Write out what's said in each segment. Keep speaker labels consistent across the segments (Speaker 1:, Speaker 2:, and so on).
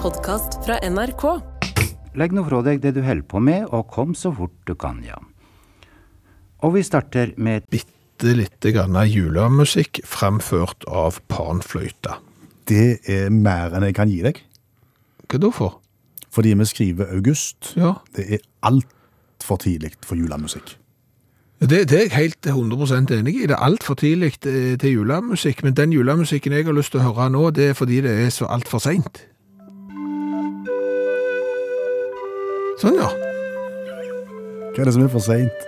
Speaker 1: podkast fra NRK.
Speaker 2: Legg nå fra deg det du holder på med, og kom så fort du kan, ja. Og vi starter med
Speaker 3: bitte lite grann julemusikk fremført av panfløyta.
Speaker 4: Det er mer enn jeg kan gi deg.
Speaker 3: Hva da for?
Speaker 4: Fordi vi skriver august.
Speaker 3: Ja.
Speaker 4: Det er altfor tidlig for julemusikk.
Speaker 3: Det, det er jeg helt 100 enig i. Det er altfor tidlig eh, til julemusikk. Men den julemusikken jeg har lyst til å høre nå, det er fordi det er så altfor seint. Sånn, ja.
Speaker 4: Hva er det som er for seint?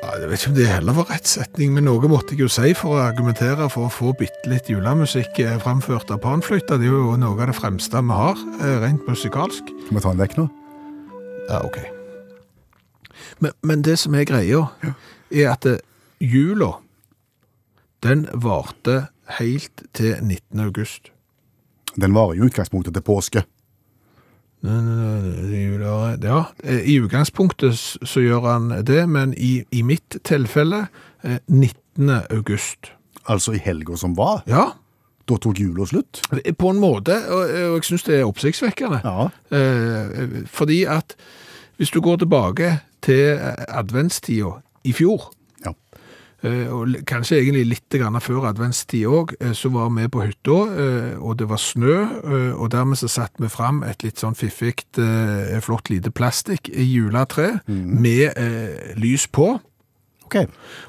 Speaker 3: Nei, Jeg vet ikke om det heller var rett setning, men noe måtte jeg jo si for å argumentere for å få bitte litt julemusikk eh, fremført av panfløyta. Det er jo noe av det fremste vi har, eh, rent musikalsk.
Speaker 4: Skal vi ta den vekk nå?
Speaker 3: Ja, ok. Men, men det som er greia, er at eh, jula, den varte helt til 19. august.
Speaker 4: Den varer jo i utgangspunktet til påske.
Speaker 3: Nei, nei, nei, nei, jula- Ja, eh, i utgangspunktet s- så gjør han det, men i, i mitt tilfelle, eh, 19. august.
Speaker 4: Altså i helga som var.
Speaker 3: Ja,
Speaker 4: Da tok jula slutt.
Speaker 3: på en måte, og, og jeg synes det er oppsiktsvekkende.
Speaker 4: Ja.
Speaker 3: Eh, Fordi at hvis du går tilbake til eh, adventstida i fjor,
Speaker 4: Ja.
Speaker 3: Eh, og l- kanskje egentlig litt grann før adventstid òg, så var vi på hytta, eh, og det var snø, eh, og dermed så satte vi fram et litt sånn fiffig, eh, flott lite plastikk i juletre
Speaker 4: Mhm.
Speaker 3: med eh, lys på.
Speaker 4: OK.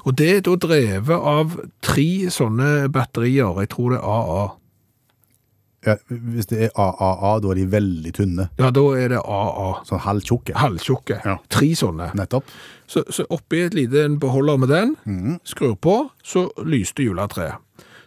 Speaker 3: Og det er da drevet av tre sånne batterier, jeg tror det er AA.
Speaker 4: Ja, hvis det er AAA, da er de veldig tynne.
Speaker 3: Ja, da er det AA.
Speaker 4: Sånn halvtjukke.
Speaker 3: Halvtjukke.
Speaker 4: Ja.
Speaker 3: Tre sånne.
Speaker 4: Nettopp.
Speaker 3: Så, så oppi et lite en beholder med den,
Speaker 4: Mm.
Speaker 3: skrur på, så lyste juletreet.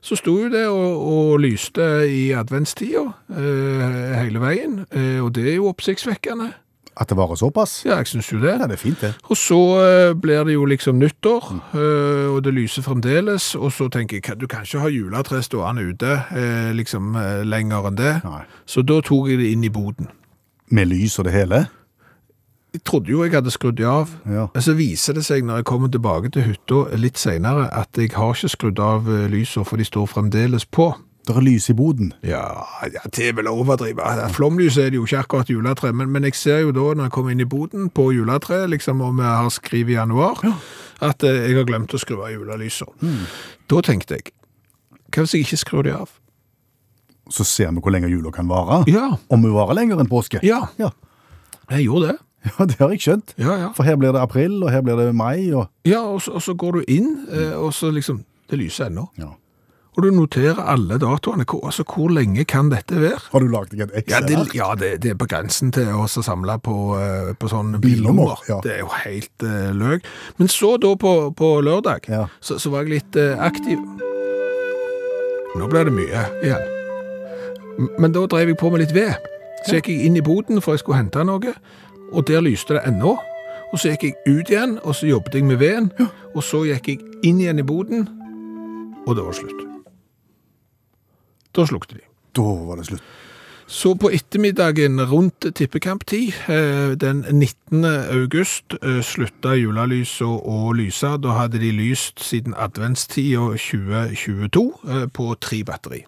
Speaker 3: Så sto jo det og, og lyste i adventstida eh, hele veien, eh, og det er jo oppsiktsvekkende.
Speaker 4: At det varer såpass?
Speaker 3: Ja, jeg syns jo det.
Speaker 4: Ja, det er fint, det.
Speaker 3: Og så eh, blir det jo liksom nyttår, eh, og det lyser fremdeles, og så tenker jeg, du kan ikke ha juletre stående ute eh, liksom eh, lenger enn det.
Speaker 4: Nei.
Speaker 3: Så da tok jeg det inn i boden.
Speaker 4: Med lys og det hele?
Speaker 3: Jeg trodde jo jeg hadde skrudd det av,
Speaker 4: Ja.
Speaker 3: men så viser det seg når jeg kommer tilbake til hytta litt senere, at jeg har ikke skrudd av eh, lysene, for de står fremdeles på.
Speaker 4: Det er lys i boden.
Speaker 3: Ja, ja det er vel å overdrive. Ja, Flomlys er det jo ikke akkurat juletre, men, men jeg ser jo da når jeg kommer inn i boden på juletreet, liksom om jeg har skrivet i januar, at eh, jeg har glemt å skru av julelysene. Da tenkte jeg, hva hvis jeg ikke skrur de av?
Speaker 4: Så ser vi hvor lenge jula kan vare.
Speaker 3: Ja.
Speaker 4: Om hun varer lenger enn påske.
Speaker 3: Ja,
Speaker 4: ja.
Speaker 3: jeg gjorde det.
Speaker 4: Ja, det har jeg skjønt.
Speaker 3: Ja, ja.
Speaker 4: For her blir det april, og her blir det mai, og
Speaker 3: Ja, og så, og så går du inn, eh, og så liksom, det lyser ennå.
Speaker 4: ja.
Speaker 3: Og du noterer alle datoene. Hvor, altså, hvor lenge kan dette være?
Speaker 4: Har du lagd deg et
Speaker 3: Ja,
Speaker 4: Excel?
Speaker 3: det, ja det, det er på grensen til å også samle på, eh, på sånne
Speaker 4: Bilnummer,
Speaker 3: bilnummer.
Speaker 4: ja.
Speaker 3: Det er jo helt eh, løk. Men så da på, på lørdag,
Speaker 4: Ja.
Speaker 3: så, så var jeg litt eh, aktiv. Nå ble det mye igjen. M- Men da drev jeg på med litt ved. Så gikk jeg inn i boden for jeg skulle hente noe, og der lyste det ennå. Og så gikk jeg ut igjen, og så jobbet jeg med veden, og så gikk jeg inn igjen i boden, og det var slutt. Da slukte de.
Speaker 4: Da var det slutt.
Speaker 3: Så på ettermiddagen rundt tippekamptid, eh, den 19. august, eh, slutta julelyset å lyse. Da hadde de lyst siden adventstida 2022 eh, på tre batteri.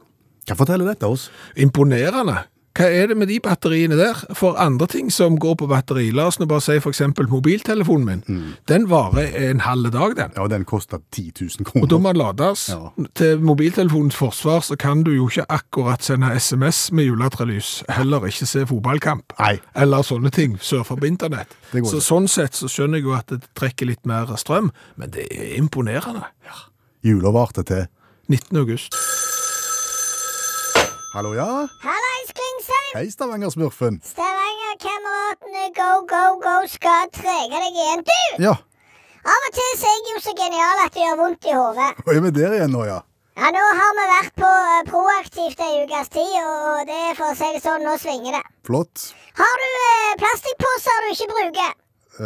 Speaker 4: Hva forteller dette oss?
Speaker 3: Imponerende! Hva er det med de batteriene der? For andre ting som går på batteri, la oss nå bare si f.eks. mobiltelefonen min. Den varer en halv dag, den.
Speaker 4: Ja, den kosta 10 000
Speaker 3: Og da
Speaker 4: kroner.
Speaker 3: må den lades.
Speaker 4: Ja.
Speaker 3: Til mobiltelefonens forsvar så kan du jo ikke akkurat sende SMS med juletrelys, heller ikke se fotballkamp.
Speaker 4: Nei.
Speaker 3: Eller sånne ting surfer på internett.
Speaker 4: Det går
Speaker 3: Så
Speaker 4: ikke.
Speaker 3: sånn sett så skjønner jeg jo at det trekker litt mer strøm, men det er imponerende.
Speaker 4: Jula varte til
Speaker 3: 19. august.
Speaker 4: Hallo, ja?
Speaker 5: Hallais, Klingsheim!
Speaker 4: Hei, Stavanger-smurfen.
Speaker 5: Stavanger-kameratene go, go, go skal trege deg igjen. Du!
Speaker 4: Ja.
Speaker 5: Av og til så er jeg jo så genial at det gjør vondt i hodet.
Speaker 4: Og er vi der igjen nå, ja?
Speaker 5: Ja, nå har vi vært på eh, proaktivt ei ukes tid, og det er for å si det sånn, nå svinger det.
Speaker 4: Flott.
Speaker 5: Har du eh, plastikkposer du ikke bruker?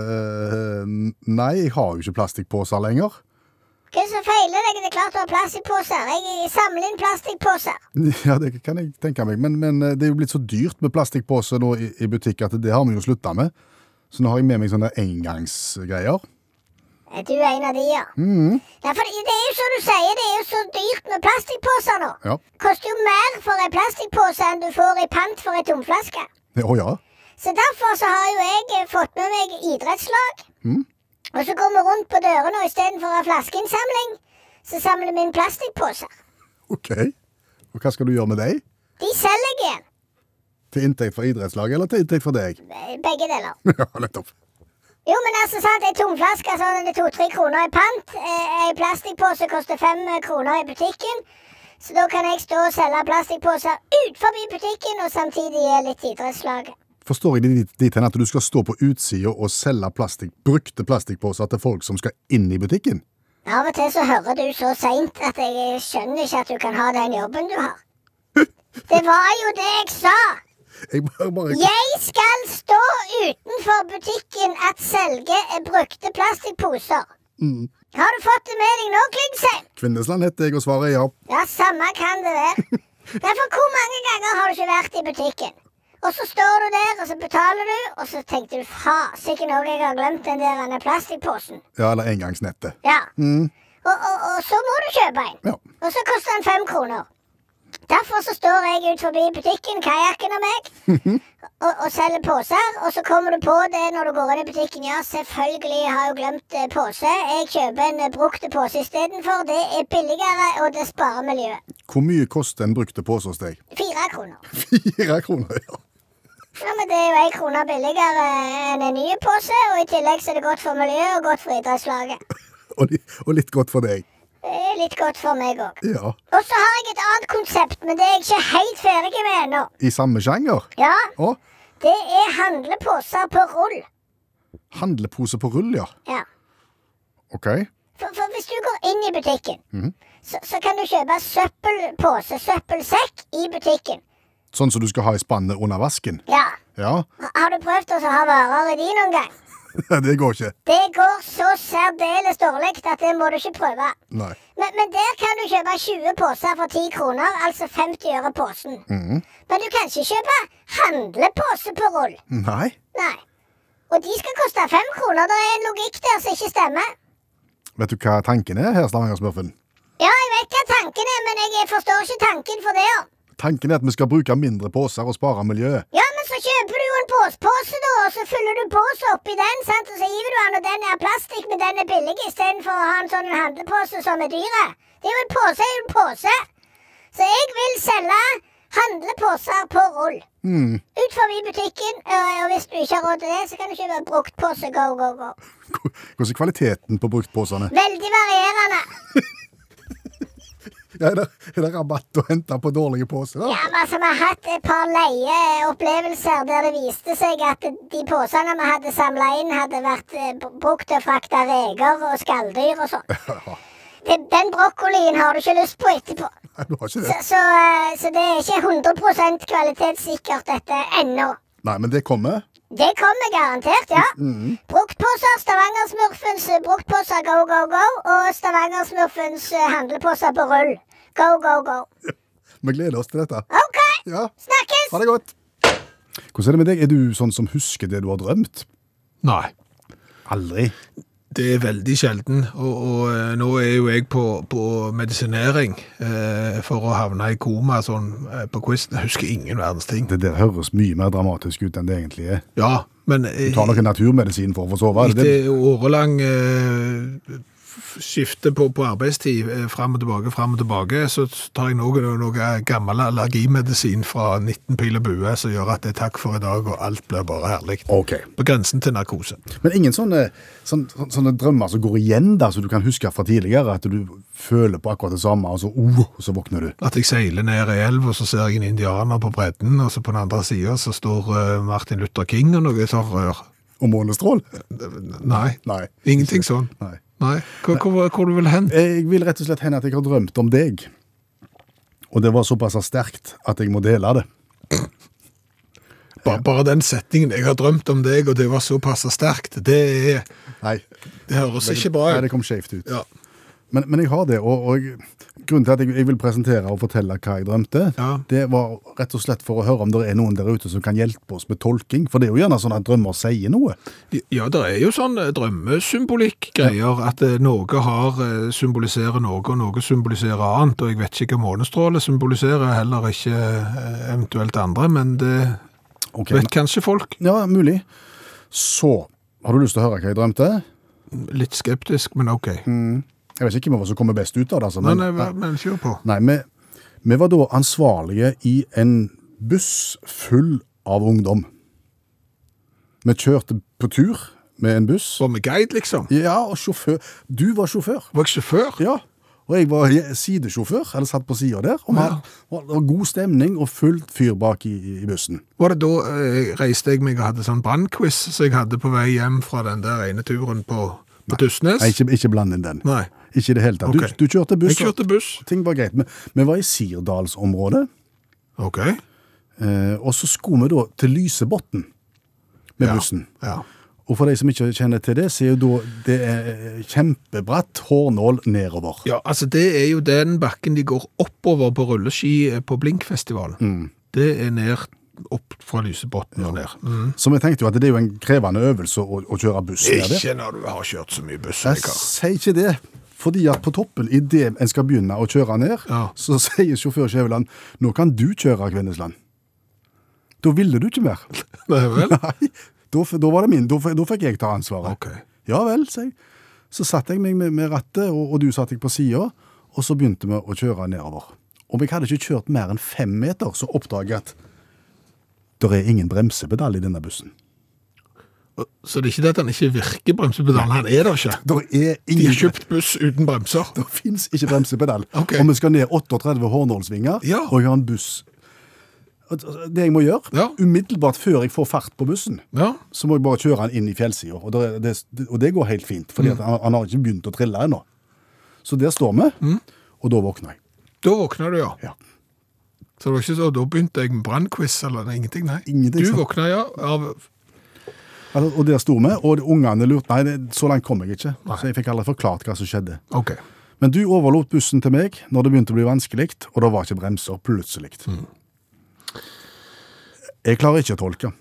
Speaker 4: Eh, nei, jeg har jo ikke plastikkposer lenger.
Speaker 5: Hva som feiler deg? Det er klart du har plastikkposer. Jeg jeg samler inn plastikkposer.
Speaker 4: Ja, det kan jeg tenke meg, men, men eh, det er jo blitt så dyrt med plastikkpose nå i, i butikk at det har vi jo slutta med. Så nå har jeg med meg sånne engangsgreier.
Speaker 5: Er Du er en av de, ja. Nei, for det er jo som du sier, det er jo så dyrt med plastikkposer nå.
Speaker 4: Ja.
Speaker 5: Koster jo mer for ei plastpose enn du får i pant for ei tomflaske.
Speaker 4: Å ja.
Speaker 5: Så derfor så har jo jeg eh, fått med meg idrettslag. Og så går vi rundt på dørene, og istedenfor å ha flaskeinnsamling, så samler vi inn plastikkposer.
Speaker 4: OK. Og hva skal du gjøre med dem?
Speaker 5: De selger jeg igjen.
Speaker 4: Til inntekt for idrettslaget eller til inntekt for deg?
Speaker 5: Eh, Begge deler.
Speaker 4: ja, nettopp.
Speaker 5: Jo, men altså, sant, ei tomflaske sånn er to-tre kroner i pant. eh, Ei plastikkpose koster fem eh, kroner i butikken. Så da kan jeg stå og selge plastikkposer ut forbi butikken, og samtidig gi litt til idrettslaget.
Speaker 4: Forstår jeg det dit- dit hen at du skal stå på utsida og selge plastikk, brukte plastikkposer til folk som skal inn i butikken?
Speaker 5: Av og til så hører du så seint at jeg skjønner ikke at du kan ha den jobben du har. Det var jo det jeg sa!
Speaker 4: Jeg bare, bare
Speaker 5: Jeg skal stå utenfor butikken at selge er brukte plastikkposer. Har du fått det med deg nå, Klingsheim?
Speaker 4: Kvinnesland heter jeg, og svaret er ja.
Speaker 5: Ja, samme kan det være. Nei, for hvor mange ganger har du ikke vært i butikken? Og så står du der, og så betaler du, og så tenkte du fasiken òg, jeg har glemt den der denne plastikkposen.
Speaker 4: Ja, eller engangsnettet.
Speaker 5: Ja. Og, og, og så må du kjøpe en.
Speaker 4: Ja.
Speaker 5: Og så koster den fem kroner. Derfor så står jeg ut forbi butikken, kajakken og meg, og, og selger poser. Og så kommer du på det når du går inn i butikken. Ja, selvfølgelig har jeg jo glemt eh, pose. Jeg kjøper en eh, brukt pose istedenfor. Det er billigere, og det sparer miljøet.
Speaker 4: Hvor mye koster en brukte pose hos deg?
Speaker 5: Fire kroner.
Speaker 4: Fire kroner, ja.
Speaker 5: Ja, men det er jo én krone billigere enn en ny pose, og i tillegg så er det godt for miljøet og godt for idrettslaget.
Speaker 4: Og, li- og litt godt for deg.
Speaker 5: Det er litt godt for meg òg.
Speaker 4: Ja.
Speaker 5: Og så har jeg et annet konsept, men det er jeg ikke helt ferdig med ennå.
Speaker 4: I samme sjanger?
Speaker 5: Ja,
Speaker 4: Å,
Speaker 5: det er handleposer på rull.
Speaker 4: handlepose på rull, ja.
Speaker 5: Ja.
Speaker 4: Ok.
Speaker 5: For, for hvis du går inn i butikken, så, så kan du kjøpe søppelpose, søppelsekk, i butikken.
Speaker 4: Sånn som du skal ha i spannet under vasken?
Speaker 5: Ja.
Speaker 4: Ja,
Speaker 5: Ha- Har du prøvd å ha varer i de noen gang?
Speaker 4: det går ikke.
Speaker 5: Det går så særdeles dårlig at det må du ikke prøve.
Speaker 4: Nei.
Speaker 5: Men, men der kan du kjøpe 20 poser for 10 kroner, altså 50 øre posen. Men du kan ikke kjøpe handlepose på rull.
Speaker 4: Nei?
Speaker 5: Nei. Og de skal koste fem kroner. Det er en logikk der som ikke stemmer.
Speaker 4: Vet du hva tanken er her, Stavangersmurfen?
Speaker 5: Ja, jeg vet hva tanken er, men jeg forstår ikke tanken for det. ja.
Speaker 4: Tanken er at vi skal bruke mindre poser og spare miljøet.
Speaker 5: Ja, men så kjøper du jo en posepose, da, og så fyller du posen oppi den, sant, og så hiver du den, og den er av plastikk, men den er billig, istedenfor å ha en sånn handlepose som er dyre. Det er jo en pose, er jo en pose. Så jeg vil selge handleposer på rull. Ut forbi butikken, og og hvis du ikke har råd til det, så kan du kjøpe bruktpose go, go, go.
Speaker 4: Hvor- Hvordan er kvaliteten på bruktposene?
Speaker 5: Veldig varierende.
Speaker 4: Ja, er, det, er det rabatt å hente på dårlige poser? Ah, da?
Speaker 5: Ja, men altså, Vi har hatt et par leieopplevelser der det viste seg at de posene vi hadde samla inn, hadde vært eh, b- brukt til å frakte reker og skalldyr og sånn. Den den brokkolien har du ikke lyst på etterpå.
Speaker 4: Nei, du har ikke
Speaker 5: Så,
Speaker 4: det.
Speaker 5: så, eh, så det er ikke 100 kvalitetssikkert, dette ennå.
Speaker 4: Nei, men det kommer.
Speaker 5: Det kommer garantert, ja. Bruktposer, Stavangersmurfens eh, bruktposer go, go, go. Og Stavangersmurfens eh, handleposer på rull. Go, go, go.
Speaker 4: Vi gleder oss til dette.
Speaker 5: OK,
Speaker 4: Ja,
Speaker 5: snakkes!
Speaker 4: ha det godt. Hvordan er det med deg? Er du sånn som husker det du har drømt?
Speaker 3: Nei.
Speaker 4: Aldri.
Speaker 3: Det er veldig sjelden, og, og eh, nå er jo jeg på, på medisinering eh, for å havne i koma sånn eh, på quizen. Jeg husker ingen verdens ting.
Speaker 4: Det der høres mye mer dramatisk ut enn det egentlig er.
Speaker 3: Ja, men eh,
Speaker 4: Du tar noe naturmedisin for å få sove? er det det?
Speaker 3: etter årelang eh, f- skifte på, på arbeidstid, eh, fram og tilbake, fram og tilbake, så tar jeg noe, noe gammel allergimedisin fra 19 pil og bue som gjør at det er takk for i dag, og alt blir bare herlig.
Speaker 4: Ok.
Speaker 3: På grensen til narkose.
Speaker 4: Men ingen sånne, sånn- sånne, drømmer som går igjen der, som du kan huske fra tidligere? At du føler på akkurat det samme, og så, oh, og så våkner du?
Speaker 3: At jeg seiler ned ei elv, og så ser jeg en indianer på bredden, og så på den andre sida så står eh, Martin Luther King og noe sånt rør.
Speaker 4: Og månestrål?
Speaker 3: Nei.
Speaker 4: Nei.
Speaker 3: Ingenting sånn.
Speaker 4: Nei.
Speaker 3: Hvor, hvor, hvor du vil hen?
Speaker 4: Jeg vil rett og slett hende at jeg har drømt om deg. Og det var såpass sterkt at jeg må dele det.
Speaker 3: Bare, bare den setningen 'jeg har drømt om deg, og det var såpass sterkt', det, er-
Speaker 4: Nei,
Speaker 3: det høres ikke bra
Speaker 4: Nei, det
Speaker 3: ut.
Speaker 4: kom skjevt ut.
Speaker 3: Ja.
Speaker 4: Men, men jeg har det, og, og jeg- Grunnen til at jeg, jeg vil presentere og fortelle hva jeg drømte,
Speaker 3: Ja.
Speaker 4: det var rett og slett for å høre om det er noen der ute som kan hjelpe oss med tolking. For det er jo gjerne sånn at drømmer sier noe.
Speaker 3: Ja, det er jo sånn eh, drømmesymbolikk-greier, at eh, noe har eh, symboliserer noe, og noe symboliserer annet, og jeg vet ikke hva månestråle symboliserer, heller ikke eh, eventuelt andre, men det
Speaker 4: Ok,
Speaker 3: vet kanskje folk.
Speaker 4: men- Ja, mulig. Så har du lyst til å høre hva jeg drømte?
Speaker 3: Litt skeptisk, men ok.
Speaker 4: Jeg vet ikke hvem av oss som kommer best ut av det. Altså,
Speaker 3: Nei,
Speaker 4: Mm, men-
Speaker 3: nei, men kjør på.
Speaker 4: Nei, vi, vi var da ansvarlige i en buss full av ungdom. Vi kjørte på tur med en buss.
Speaker 3: Var vi guide, liksom?
Speaker 4: Ja, og sjåfør. Du var sjåfør.
Speaker 3: Var jeg sjåfør?
Speaker 4: Ja. Og jeg var je- sidesjåfør, eller satt på sida der. Og vi hadde- og det var god stemning og fullt fyr bak i, i bussen.
Speaker 3: Var det da eh, reiste jeg meg og hadde sånn brannquiz som jeg hadde på vei hjem fra den der ene turen på, på Tysnes?
Speaker 4: Nei, ikke, ikke bland inn den.
Speaker 3: Nei.
Speaker 4: Ikke i det hele tatt.
Speaker 3: Ok.
Speaker 4: Du, du kjørte buss.
Speaker 3: Jeg kjørte buss.
Speaker 4: og Ting var greit. Men vi var i Sirdalsområdet,
Speaker 3: Ok.
Speaker 4: eh, og så skulle vi da til Lysebotn med
Speaker 3: Ja.
Speaker 4: bussen.
Speaker 3: Ja.
Speaker 4: Og for de som ikke kjenner til det, så er jo da det er eh, kjempebratt hårnål nedover.
Speaker 3: ja, altså det er jo den bakken de går oppover på rulleski eh, på Blinkfestivalen. Det er ned opp fra Lysebotn og ned. Mm.
Speaker 4: Så vi tenkte jo at det er jo en krevende øvelse å, å kjøre buss ned der.
Speaker 3: Ikke når du har kjørt så mye buss.
Speaker 4: Jeg
Speaker 3: Rikard.
Speaker 4: sier ikke det. Fordi at på toppen, idet en skal begynne å kjøre ned,
Speaker 3: Ja.
Speaker 4: så sier sjåfør Skjæveland nå kan du kjøre, Kvinnesland. Da ville du ikke mer.
Speaker 3: Nei vel?
Speaker 4: Nei, da, f- da var det min. Da, f- da fikk jeg ta ansvaret.
Speaker 3: Ok.
Speaker 4: Ja vel, sa jeg. Så satte jeg meg med, med rattet, og, og du satte deg på sida, og så begynte vi å kjøre nedover. Og jeg hadde ikke kjørt mer enn fem meter, så oppdaget jeg at det er ingen bremsepedal i denne bussen.
Speaker 3: Så det er ikke det at han ikke virker bremsepedalen, han er det ikke.
Speaker 4: Det er
Speaker 3: De
Speaker 4: ingen
Speaker 3: har kjøpt buss uten bremser.
Speaker 4: Det fins ikke bremsepedal.
Speaker 3: Ok.
Speaker 4: Og vi skal ned 38 hårnålsvinger,
Speaker 3: Ja.
Speaker 4: og jeg har en buss. Og Det jeg må gjøre,
Speaker 3: Ja.
Speaker 4: umiddelbart før jeg får fart på bussen,
Speaker 3: Ja.
Speaker 4: så må jeg bare kjøre han inn i fjellsida. Og, det- det- og det går helt fint, for han, han har ikke begynt å trille ennå. Så der står vi, og da våkner jeg.
Speaker 3: Da våkna du, ja.
Speaker 4: Ja.
Speaker 3: Så det var ikke så, da begynte jeg med brannquiz eller nei, ingenting, nei.
Speaker 4: Ingenting,
Speaker 3: du
Speaker 4: sant?
Speaker 3: våkna, ja, av
Speaker 4: Altså, og der sto vi, og de ungene lurte Nei, det, så langt kom jeg ikke. Så jeg fikk aldri forklart hva som skjedde.
Speaker 3: Ok.
Speaker 4: Men du overlot bussen til meg når det begynte å bli vanskelig, og det var ikke bremser plutselig. Jeg klarer ikke å tolke.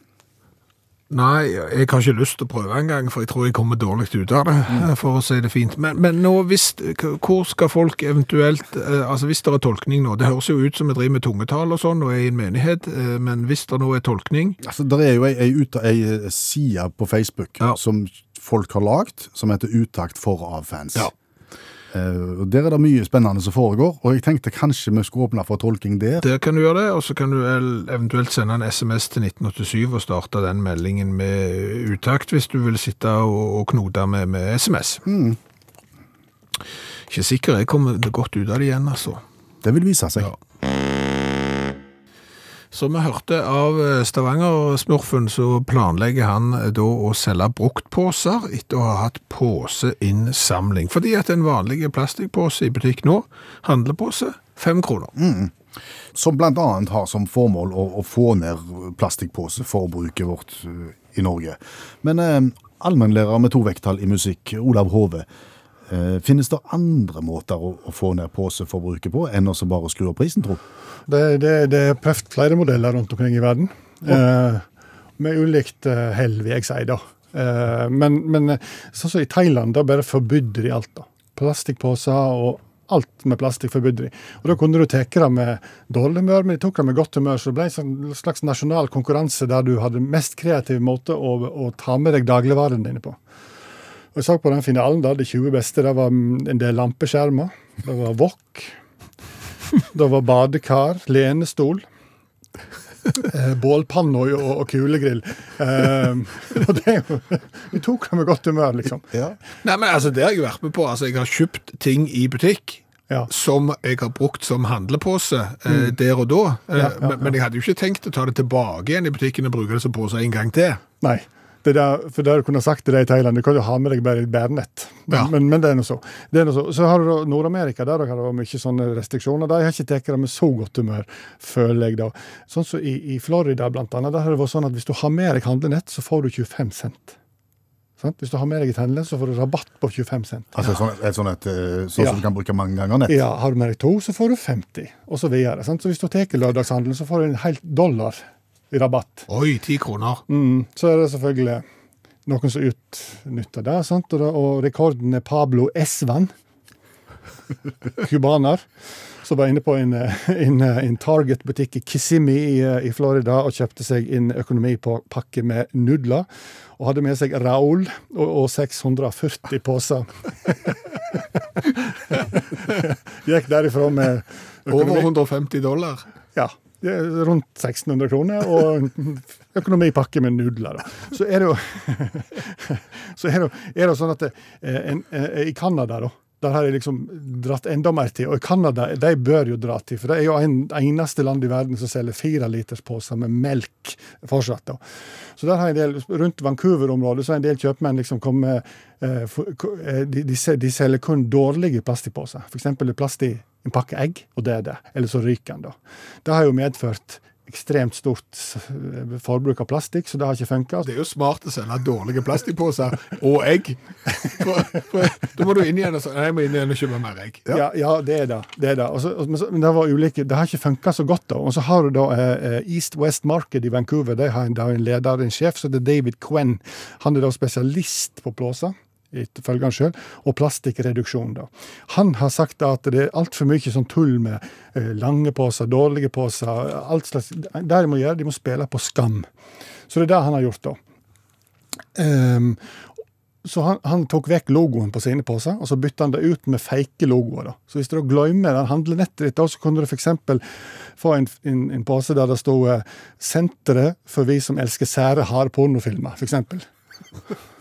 Speaker 3: Nei, jeg har ikke lyst til å prøve engang, for jeg tror jeg kommer dårlig ut av det, for å si det fint. Men, men nå, hvis, k- hvor skal folk eventuelt, eh, altså hvis det er tolkning nå, det høres jo ut som vi driver med tungetall og sånn, og er i en menighet, eh, men hvis det nå er tolkning,
Speaker 4: Altså, der er jo ei, ei, uta- ei eh, side på Facebook
Speaker 3: Ja.
Speaker 4: som folk har lagd, som heter Utakt for av-fans.
Speaker 3: Ja.
Speaker 4: og Der er det mye spennende som foregår, og jeg tenkte kanskje vi skulle åpne for tolking der.
Speaker 3: der kan du gjøre det, og så kan du el- eventuelt sende en sms til 1987 og starte den meldingen med utakt, hvis du vil sitte og, og knote med, med sms. Ikke sikker, jeg kommer godt ut av det igjen, altså.
Speaker 4: Det vil vise seg.
Speaker 3: Ja. Som vi hørte av eh, Stavanger-smurfen, så planlegger han eh, da å selge bruktposer etter å ha hatt poseinnsamling. Fordi at en vanlig plastikkpose i butikk nå, handlepose, fem kroner.
Speaker 4: Som blant annet har som formål å, å få ned plastikkposeforbruket vårt eh, i Norge. Men eh, allmennlærer med to vekttall i musikk, Olav Hove, eh, finnes det andre måter å, å få ned poseforbruket på enn å så bare skru opp prisen, tro?
Speaker 1: Det, det, det er prøvd flere modeller rundt omkring i verden, eh, med ulikt eh, hell, vil jeg si. da. Eh, men men eh, sånn som i Thailand, da bare forbydde de alt. da. Plastikkposer og alt med plastikk forbydde de. Og Da kunne du ta det med dårlig humør, men de tok det med godt humør. Så det ble en sånn slags nasjonal konkurranse der du hadde mest kreativ måte å, å ta med deg dagligvarene dine på. Og Jeg så på den finalen, da, de 20 beste. Det var mm, en del lampeskjermer. Det var wok. Det var badekar, lenestol, eh, bålpanne og, og, og kulegrill. Eh, og det er jo Vi tok det med godt humør, liksom.
Speaker 4: Ja.
Speaker 3: Nei, men altså, det har jeg vært med på. Altså, jeg har kjøpt ting i butikk
Speaker 1: Ja.
Speaker 3: som jeg har brukt som handlepose eh, der og da. Eh, men- Men jeg hadde jo ikke tenkt å ta det tilbake igjen i butikken og bruke det som pose en gang til.
Speaker 1: Nei. Det der, for det du kunne sagt til deg i Thailand, du kan jo ha med deg bare et bærenett. Men,
Speaker 3: Ja.
Speaker 1: men, men det er nå så. Det er noe så. så har du da Nord-Amerika, der har det vært mye sånne restriksjoner. De har ikke tatt det med så godt humør, føler jeg da. Sånn som i, i Florida, blant annet, der har det vært sånn at hvis du har med deg handlenett, så får du 25 cent. Sant? Hvis du har med deg et håndledd, så får du rabatt på 25 cent.
Speaker 4: Altså et sånt, et sånt et, eh, sånn
Speaker 1: Ja.
Speaker 4: som du kan bruke mange ganger nett.
Speaker 1: Ja, Har du med deg to, så får du 50, og så videre. Sant? Så hvis du tar lørdagshandelen, så får du en hel dollar i rabatt.
Speaker 3: Oi, ti kroner.
Speaker 1: Mm, så er det selvfølgelig noen som utnytter det, sant? Og, da- og rekorden er Pablo Esvan, cubaner, som var inne på en, eh, en, eh, en Target-butikk i Kissimmee i, eh, i Florida og kjøpte seg en økonomipakke med nudler, og hadde med seg Raoul og, og 640 poser. Gikk derifra med
Speaker 3: Over 150 dollar.
Speaker 1: ja. det er Rundt 1600 kroner og en økonomipakke med nudler. Da. Så er det jo så er det, jo- er det jo sånn at det, eh, en, eh, i Canada, da der har jeg liksom dratt enda mer til. Og i Canada de bør jo dra til, for det er jo en, eneste land i verden som selger firelitersposer med melk fortsatt. da. Så der har en del, Rundt Vancouver-området så har en del kjøpmenn liksom kommet eh, for, ko- eh, de, de, sel- de selger kun dårlige plastikkposer. F.eks. er plast i en pakke egg, og det er det. Eller så ryker den, da. Det har jo medført ekstremt stort eh, forbruk av plastikk, så det har ikke funka.
Speaker 3: Det er jo smart å selge dårlige plastikkposer og egg. For, for, da må du inn igjen og så, Nei, jeg må inn igjen og kjøpe mer egg.
Speaker 1: Ja. ja, det er det. det, er det. Og så- og- men så- men det, var ulike, det har ikke funka så godt, da. Og så har du da eh, eh, East West Market i Vancouver. De har en, de har en leder, en sjef, som heter David Quinn. Han er da spesialist på plåser, ifølge han sjøl, og plastikkreduksjon, da. Han har sagt da at det er altfor mye sånn tull med eh, lange poser, dårlige poser, alt slags Det de må gjøre, de må spille på skam. Så det er det han har gjort, da. Ehm, så han, han tok vekk logoen på sine poser, og så bytta han det ut med fake logoer. da. Så hvis du da glemmer den handlenettet ditt, da, så kunne du f.eks. få en, en, en pose der det stod eh, 'Senteret for vi som elsker sære, harde pornofilmer', f.eks.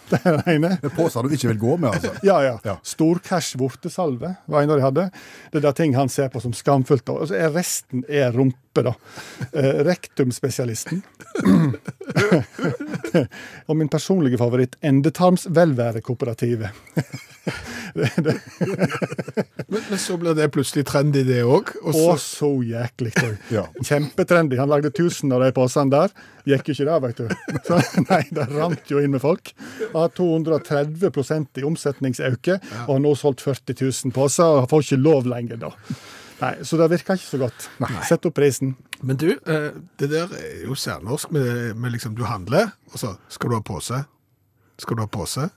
Speaker 1: Det er det ene.
Speaker 4: Med Påser du ikke vil gå med, altså.
Speaker 1: Ja, ja.
Speaker 4: Ja.
Speaker 1: Storcash vortesalve var en av de hadde. Det er da ting han ser på som skamfullt. da. Og så er resten er rumpe, da. Eh, rektumspesialisten. og min personlige favoritt, endetarmsvelværekooperativ.
Speaker 3: Men, men så blir det plutselig trendy, det òg. Og
Speaker 1: Å,
Speaker 3: så
Speaker 1: så jæklig tøy.
Speaker 4: Ja.
Speaker 1: Kjempetrendy. Han lagde 1000 av de posene der. Gikk jo ikke det, vet du. Så, nei, det rant jo inn med folk. Han har 230 i omsetningsøke, og har nå solgt 40 000 poser, og får ikke lov lenger da. Nei, Så det virker ikke så godt. Sett opp prisen.
Speaker 3: Men du, eh, det der er jo særnorsk med, med liksom du handler, og så skal du ha pose. Skal du ha pose?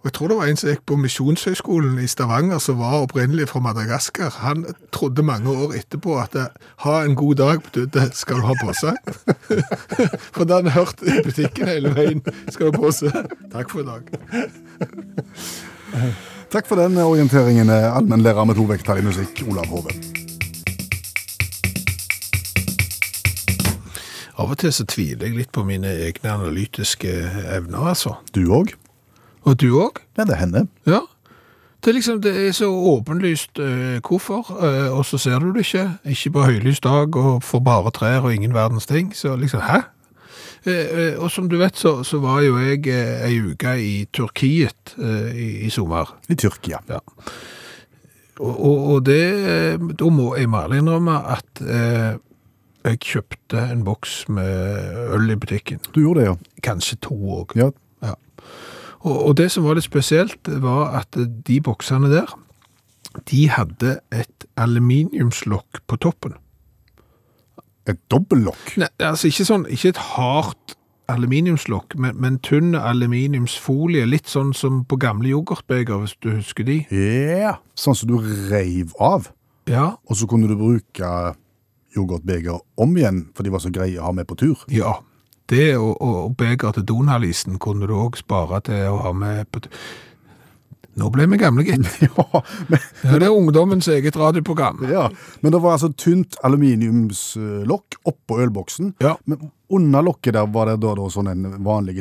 Speaker 3: Og jeg tror det var en som gikk på Misjonshøgskolen i Stavanger, som var opprinnelig fra Madagaskar. Han trodde mange år etterpå at eh, ha en god dag betydde skal du ha pose. for det hadde han hørt i butikken hele veien. Skal du ha pose? Takk for i dag.
Speaker 4: Takk for den orienteringen, eh, allmennlærer med to vekttall i musikk, Olav Hove.
Speaker 3: Av og til så tviler jeg litt på mine egne analytiske evner, altså.
Speaker 4: Du òg?
Speaker 3: Og du òg?
Speaker 4: Ja, det hender.
Speaker 3: Ja. Det er, liksom, det er så åpenlyst eh, hvorfor, eh, og så ser du det ikke. Ikke på høylys dag og for bare trær og ingen verdens ting. Så liksom, hæ? Eh, eh, og som du vet, så, så var jo jeg eh, ei uke i Turkiet eh, i, i sommer.
Speaker 4: I Tyrkia.
Speaker 3: Ja. Og, og, og det eh, Da må jeg med ærlig innrømme at eh, jeg kjøpte en boks med øl i butikken.
Speaker 4: Du gjorde det, ja.
Speaker 3: Kanskje to òg.
Speaker 4: ja.
Speaker 3: Ja. Og, og det som var litt spesielt, var at de boksene der, de hadde et aluminiumslokk på toppen.
Speaker 4: Et dobbellokk.
Speaker 3: Nei, altså ikke sånn, ikke et hardt aluminiumslokk, men, men tynn aluminiumsfolie, litt sånn som på gamle yoghurtbeger, hvis du husker de.
Speaker 4: Ja. Sånn som du reiv av,
Speaker 3: Ja,
Speaker 4: og så kunne du bruke yoghurtbeger om igjen, for de var så greie å ha med på tur.
Speaker 3: ja. Det og, og, og beger til Donalisen kunne du også spare til å ha med på... t- Nå ble vi gamle, gitt.
Speaker 4: Ja, men,
Speaker 3: Ja, det er ungdommens eget radioprogram.
Speaker 4: ja. men det var altså tynt aluminiumslokk oppå ølboksen.
Speaker 3: Ja.
Speaker 4: Men under lokket der var det da, da sånn en vanlig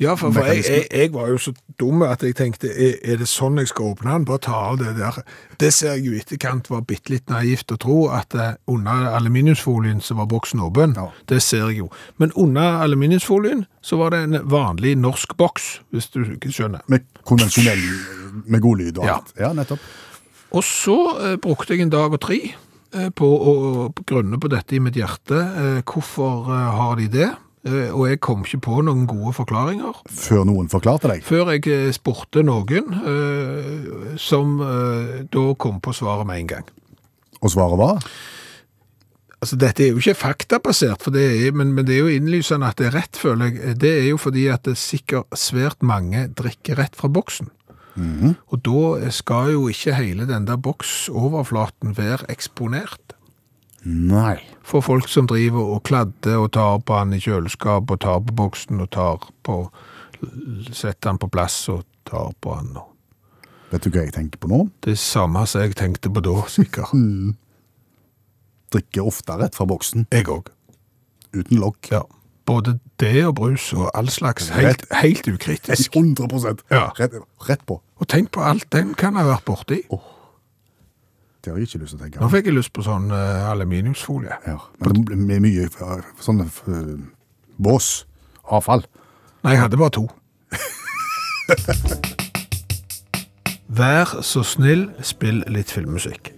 Speaker 3: Ja, for, for jeg,
Speaker 4: Mekanisme.
Speaker 3: jeg, jeg var jo så dum at jeg tenkte er, er det sånn jeg skal åpne den? Bare ta av det der. Det ser jeg jo i etterkant var bitte litt naivt å tro, at eh, under aluminiumsfolien så var boksen åpen.
Speaker 4: Ja.
Speaker 3: Det ser jeg jo. Men under aluminiumsfolien så var det en vanlig norsk boks, hvis du ikke skjønner.
Speaker 4: med konvensjonell med god lyd og
Speaker 3: Ja.
Speaker 4: alt. Ja, nettopp.
Speaker 3: Og så eh, brukte jeg en dag og tre eh, på å grunne på dette i mitt hjerte. Eh, hvorfor eh, har de det?
Speaker 6: eh, og jeg kom ikke på noen gode forklaringer.
Speaker 4: Før noen forklarte deg.
Speaker 6: Før jeg eh, spurte noen, eh, som eh, da kom på svaret med en gang.
Speaker 4: Og svaret var?
Speaker 6: Altså, Dette er jo ikke faktabasert, for det er, men, men det er jo innlysende at det er rett, føler jeg. Eh, Det er jo fordi at det sikkert svært mange drikker rett fra boksen. Og da skal jo ikke hele den der boksoverflaten være eksponert
Speaker 4: Nei.
Speaker 6: for folk som driver og kladder og tar på han i kjøleskap og tar på boksen og tar på Setter han på plass og tar på han. og
Speaker 4: Vet du hva jeg tenker på nå?
Speaker 6: Det samme som jeg tenkte på da, sikkert.
Speaker 4: Drikker ofte rett fra boksen,
Speaker 6: Mm. Jeg òg.
Speaker 4: uten lokk.
Speaker 6: Ja. Både det og brus og all slags. Helt, helt ukritisk.
Speaker 4: 100
Speaker 6: Ja.
Speaker 4: rett, rett på.
Speaker 6: Og tenk på alt den kan ha vært borti.
Speaker 4: Det har jeg ikke lyst til å tenke
Speaker 6: Nå
Speaker 4: på.
Speaker 6: fikk jeg lyst på sånn eh, aluminiumsfolie.
Speaker 4: Ja. Men det blir mye eh, sånne eh, bås. Avfall.
Speaker 6: Nei, jeg hadde bare to. Vær så snill, spill litt filmmusikk.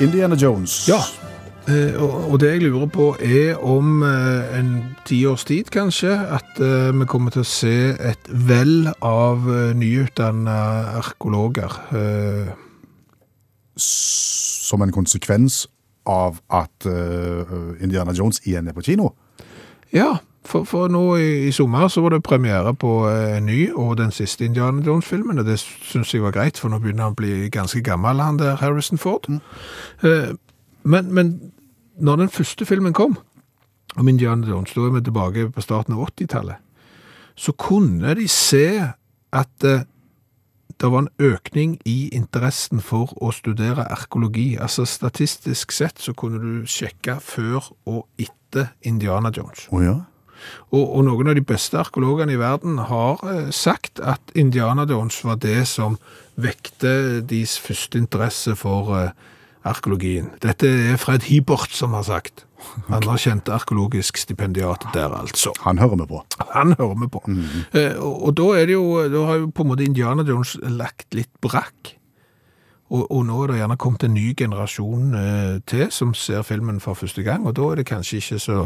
Speaker 4: Indiana Jones.
Speaker 6: Ja. Eh, og, og det jeg lurer på er om eh, en tiårs tid, kanskje, at eh, vi kommer til å se et vell av eh, nyutdanna arkeologer. Eh,
Speaker 4: Som en konsekvens av at eh, Indiana Jones igjen er på kino.
Speaker 6: Ja, for, for nå i, i sommer så var det premiere på eh, en ny og den siste Indiana Jones-filmen, og det syns jeg var greit, for nå begynner han å bli ganske gammel, han der Harrison Ford. Eh, men, men når den første filmen kom, om Indiana Jones, da er vi tilbake på starten av 80-tallet, så kunne de se at eh, det var en økning i interessen for å studere arkeologi. Altså statistisk sett så kunne du sjekke før og etter Indiana Jones.
Speaker 4: Å ja?
Speaker 6: Og, og noen av de beste arkeologene i verden har eh, sagt at Indiana Jones var det som vekte deres første interesse for eh, arkeologien. Dette er Fred Hibert som har sagt. Anerkjente arkeologisk stipendiat der, altså.
Speaker 4: Han hører vi på.
Speaker 6: Han hører vi på. Eh, og, og da er det jo Da har jo på en måte Indiana Jones lagt litt brakk. Og, og nå er det gjerne kommet en ny generasjon eh, til som ser filmen for første gang, og da er det kanskje ikke så,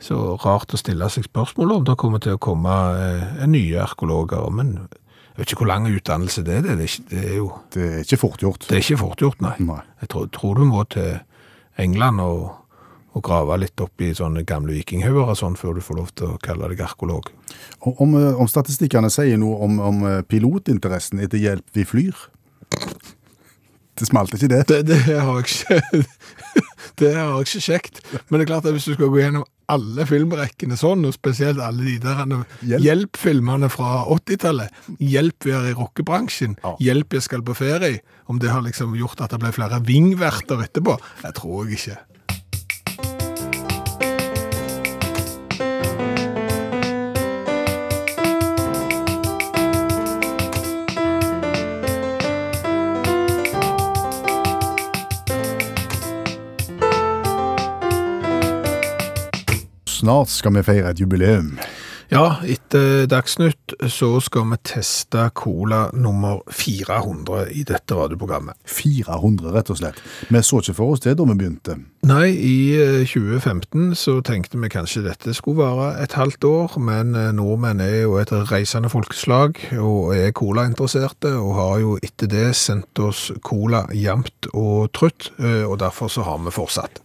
Speaker 6: så rart å stille seg spørsmål om det kommer til å komme eh, nye arkeologer. Men jeg vet ikke hvor lang utdannelse det er. Det er, ikke, det er jo
Speaker 4: Det er eh, ikke fort gjort.
Speaker 6: det er ikke fortgjort, nei.
Speaker 4: Nei.
Speaker 6: Jeg tror, tror du må til England og, og grave litt opp i sånne gamle vikinghauger og sånn før du får lov til å kalle deg arkeolog.
Speaker 4: Og Om, eh, om statistikkene sier noe om, om eh, pilotinteressen etter hjelp vi flyr? Det smalt ikke det?
Speaker 6: Det, det har jeg ikke Det har jeg ikke kjekt. Men det er klart at hvis du skal gå gjennom alle filmrekkene sånn, og spesielt alle de der
Speaker 4: Hjelp.
Speaker 6: hjelpfilmene fra 80-tallet 'Hjelp, vi er i rockebransjen',
Speaker 4: Ja.
Speaker 6: 'Hjelp, jeg skal på ferie' Om det har liksom gjort at det ble flere vingverter etterpå? Det tror jeg ikke.
Speaker 4: Snart skal vi feire et jubileum.
Speaker 6: Ja, etter Dagsnytt så skal vi teste Cola nummer 400 i dette radioprogrammet.
Speaker 4: 400, rett og slett. Vi så ikke for oss det da vi begynte.
Speaker 6: Nei, i eh, 2015 så tenkte vi kanskje dette skulle vare et halvt år, men eh, nordmenn er jo et reisende folkeslag og er cola-interesserte, og har jo etter det sendt oss cola jevnt og trutt, eh, og derfor så har vi fortsatt.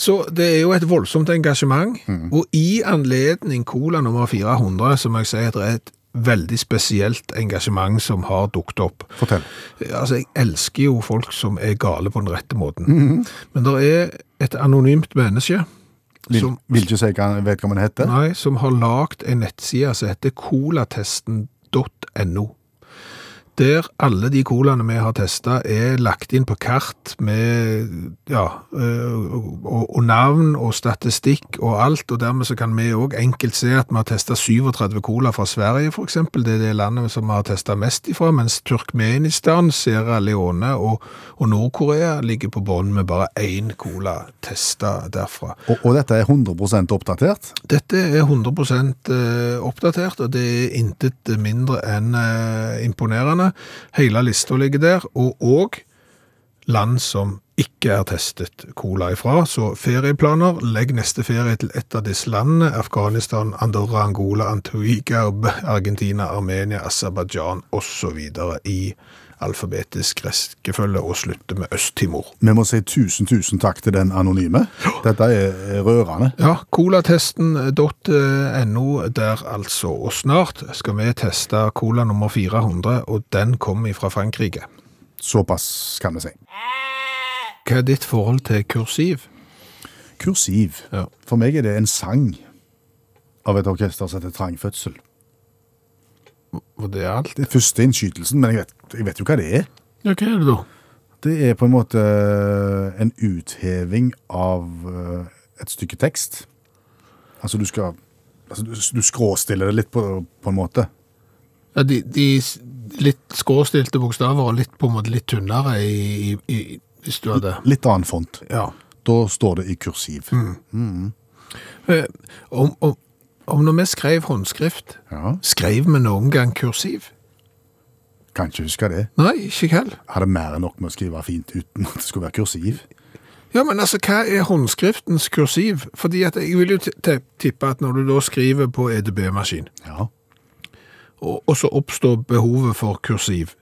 Speaker 6: Så det er jo et voldsomt engasjement, og i anledning cola nummer 400, så må jeg si at det er et veldig spesielt engasjement som har dukt opp.
Speaker 4: Fortell.
Speaker 6: Altså, jeg elsker jo folk som er gale på den rette måten. Men det er et anonymt menneske
Speaker 4: Vil,
Speaker 6: som,
Speaker 4: vil ikke si hva, vet hva man heter?
Speaker 6: nei, som har lagd en nettside som heter colatesten.no.
Speaker 3: der alle de colaene vi har testa, er lagt inn på kart med ja, eh, og, og navn og statistikk og alt, og dermed så kan vi òg enkelt se at vi har testa 37 cola fra Sverige, f.eks. Det er det landet som vi har testa mest ifra, mens Turkmenistan, Sierra Leone og, og Nord-Korea ligger på bånn med bare én cola testa derfra.
Speaker 4: Og, og dette er 100 oppdatert.
Speaker 3: Dette er 100 eh, oppdatert, og det er intet mindre enn eh, imponerende. Hele lista ligger der, og òg land som ikke er testet cola ifra. Så ferieplaner, legg neste ferie til et av disse landene. Afghanistan, Andorra, Angola, Antigua, Argentina, Armenia, Aserbajdsjan osv. i alfabetisk rekkefølge, og slutter med Øst-Timor.
Speaker 4: Vi må si tusen, tusen takk til den anonyme. Dette er er rørende.
Speaker 3: Ja, colatesten.no der altså. Og snart skal vi teste cola nummer 400, og den kommer fra Frankrike.
Speaker 4: Såpass kan vi si.
Speaker 3: Hva er ditt forhold til kursiv?
Speaker 4: Kursiv.
Speaker 3: Ja.
Speaker 4: For meg er det en sang av et orkester som heter Trang fødsel.
Speaker 3: Og det er alt.
Speaker 4: Det er første innskytelsen, men jeg vet, jeg vet jo hva det er.
Speaker 3: Ja, hva er det da?
Speaker 4: Det er på en måte eh, en utheving av eh, et stykke tekst. Altså du skal altså, du, du skråstiller det litt på, på en måte.
Speaker 3: Ja, de, de s- litt skråstilte bokstaver og litt på en måte litt tynnere i, i, i, hvis du hadde
Speaker 4: Litt annen font.
Speaker 3: Ja. Mm.
Speaker 4: Da står det i kursiv.
Speaker 3: Eh, Om, om, om når vi skrev håndskrift,
Speaker 4: Ja,
Speaker 3: skrev vi noen gang kursiv?
Speaker 4: Kan ikke huske det.
Speaker 3: Nei, ikke heller.
Speaker 4: Hadde mer enn nok med å skrive fint uten at det skulle være kursiv.
Speaker 3: Ja, men altså, hva er håndskriftens kursiv? Fordi at jeg vil jo t- t- tippe at når du da skriver på E EDB-maskin,
Speaker 4: Ja.
Speaker 3: og, og så oppstår behovet for kursiv,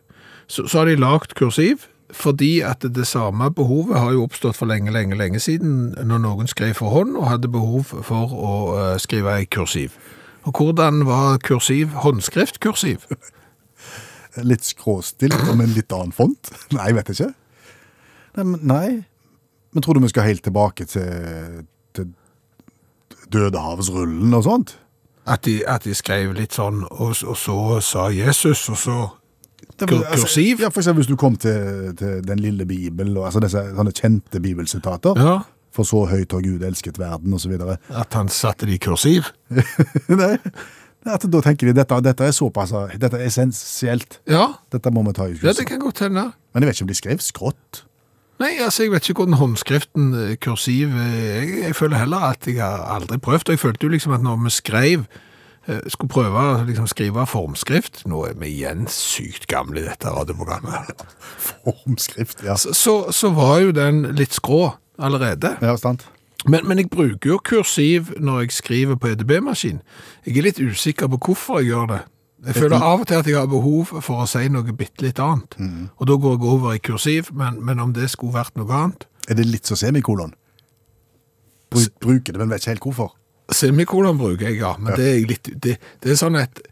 Speaker 3: så, så har de lagt kursiv, fordi at det samme behovet har jo oppstått for lenge, lenge, lenge siden, når noen skrev for hånd og hadde behov for å eh, skrive i kursiv. Og hvordan var kursiv håndskriftkursiv?
Speaker 4: Litt skråstilt og med en litt annen font. Nei, jeg vet ikke. Nei, men, nei. men tror du vi skal helt tilbake til, til Dødehavsrullen og sånt?
Speaker 3: At de, at de skrev litt sånn, og, s- og så sa Jesus, og så
Speaker 4: Det
Speaker 3: Kur- kursiv?
Speaker 4: Ja, for eksempel hvis du kom til, til Den lille bibel, og, altså disse sånne kjente bibelsitater.
Speaker 3: Ja.
Speaker 4: For så høyt har Gud elsket verden, osv.
Speaker 3: at han satte de i kursiv.
Speaker 4: Nei, at da tenker de dette, dette er såpass Dette er essensielt.
Speaker 3: Ja,
Speaker 4: Dette må vi ta
Speaker 3: ja
Speaker 4: i kursiv.
Speaker 3: det kan godt hende.
Speaker 4: Men jeg vet ikke om de skrev skrått.
Speaker 3: Nei, altså, jeg vet ikke hvordan håndskriften eh, kursiv eh, jeg, jeg føler heller at jeg har aldri prøvd. Og jeg følte jo liksom at når vi skrev eh, skulle prøve å liksom, skrive formskrift Nå er vi igjen sykt gamle i dette radioprogrammet.
Speaker 4: Formskrift, ja.
Speaker 3: Så, så, så var jo den litt skrå allerede.
Speaker 4: Ja, sant.
Speaker 3: Men, men jeg bruker jo kursiv når jeg skriver på EDB-maskin. Jeg er litt usikker på hvorfor jeg gjør det. Jeg føler av og til at jeg har behov for å si noe bitte litt annet. Og da går jeg over i kursiv, men, men om det skulle vært noe annet
Speaker 4: Er det litt som semikolon? Bru- Bruker det, men vet ikke helt hvorfor.
Speaker 3: Semikolon bruker jeg, ja, men det er, jeg litt, det, det er sånn at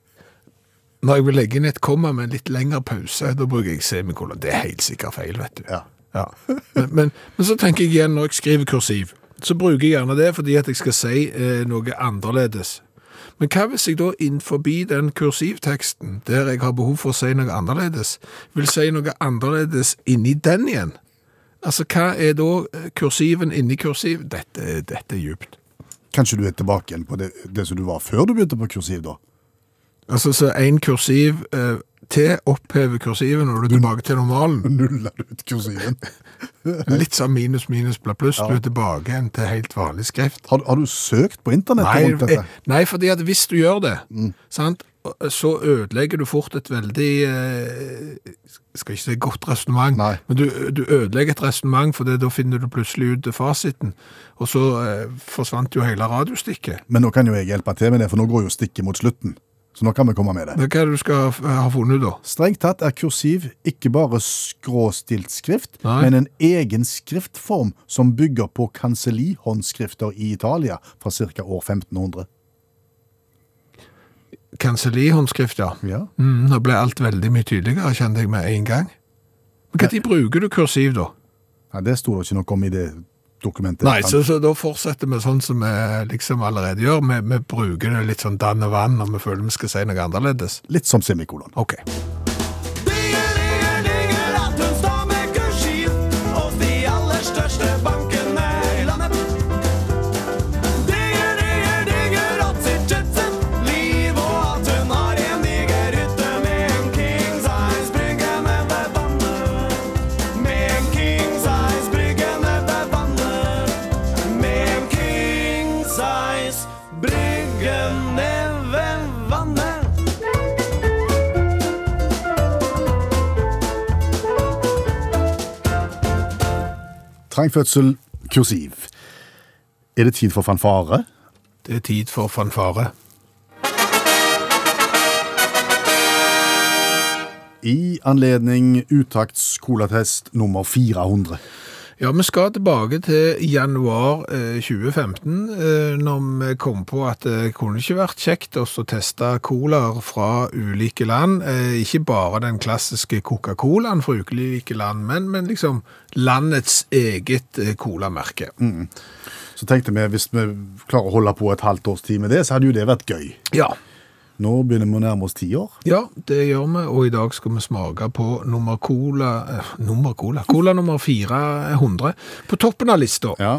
Speaker 3: når jeg vil legge inn et komma med en litt lengre pause, da bruker jeg semikolon. Det er helt sikkert feil, vet du.
Speaker 4: Ja.
Speaker 3: Ja. Men, men, men så tenker jeg igjen når jeg skriver kursiv, så bruker jeg gjerne det fordi at jeg skal si eh, noe annerledes. Men hva hvis jeg da innenfor den kursivteksten, der jeg har behov for å si noe annerledes, vil si noe annerledes inni den igjen? Altså, hva er da eh, kursiven inni kursiv? Dette, dette er djupt.
Speaker 4: Kanskje du er tilbake igjen på det, det som du var før du begynte på kursiv, da?
Speaker 3: Altså, så en kursiv eh, til opphever kursiven, og du er tilbake til normalen.
Speaker 4: Nuller du ut kursiven?
Speaker 3: Litt sånn minus, minus, bla, pluss. Du er tilbake igjen til helt vanlig skrift.
Speaker 4: Har, har du søkt på internett
Speaker 3: Nei,
Speaker 4: rundt dette?
Speaker 3: eh, nei, fordi at hvis du gjør det, sant, eh, så ødelegger du fort et veldig eh, Skal ikke si godt resonnement,
Speaker 4: Nei.
Speaker 3: men du, du ødelegger et resonnement, for det- da finner du plutselig ut fasiten. Og så eh, forsvant jo hele radiostikket.
Speaker 4: Men nå kan jo jeg hjelpe til med det, for nå går jo stikket mot slutten. Så nå kan vi komme med det.
Speaker 3: Men Hva er det du skal ha- ha funnet ut, da?
Speaker 4: Strengt tatt er kursiv ikke bare skråstilt skrift,
Speaker 3: Nei.
Speaker 4: men en egen skriftform som bygger på kansellihåndskrifter i Italia fra ca. år 1500.
Speaker 3: Kansellihåndskrift, ja.
Speaker 4: Ja.
Speaker 3: Mm, nå ble alt veldig mye tydeligere, kjente jeg med en gang. Men hva tid bruker du kursiv, da?
Speaker 4: Nei, det sto det ikke noe om i det dokumentet.
Speaker 3: Nei, så, så da fortsetter vi sånn som vi liksom allerede gjør. Vi, vi bruker det litt sånn dann og vann når vi føler vi skal si noe annerledes.
Speaker 4: Litt som semikolon.
Speaker 3: Ok.
Speaker 7: Det er
Speaker 8: ned ved vannet.
Speaker 4: Trangfødsel, kursiv. Er det tid for fanfare?
Speaker 6: Det er tid for fanfare.
Speaker 4: I anledning uttakts colatest nummer 400.
Speaker 6: Ja, vi skal tilbake til januar eh, 2015, eh, når vi kom på at det kunne ikke vært kjekt også å teste colaer fra ulike land. Eh, ikke bare den klassiske Coca-Colaen fra ulike land, men, men liksom landets eget eh, colamerke.
Speaker 4: Så tenkte vi hvis vi klarer å holde på et halvt års tid med det, så hadde jo det vært gøy.
Speaker 6: Ja.
Speaker 4: Nå begynner vi å nærme oss ti år.
Speaker 6: ja, det gjør vi, og i dag skal vi smake på nummer cola, eh, nummer cola, cola nummer 400. På toppen av lista.
Speaker 4: Ja.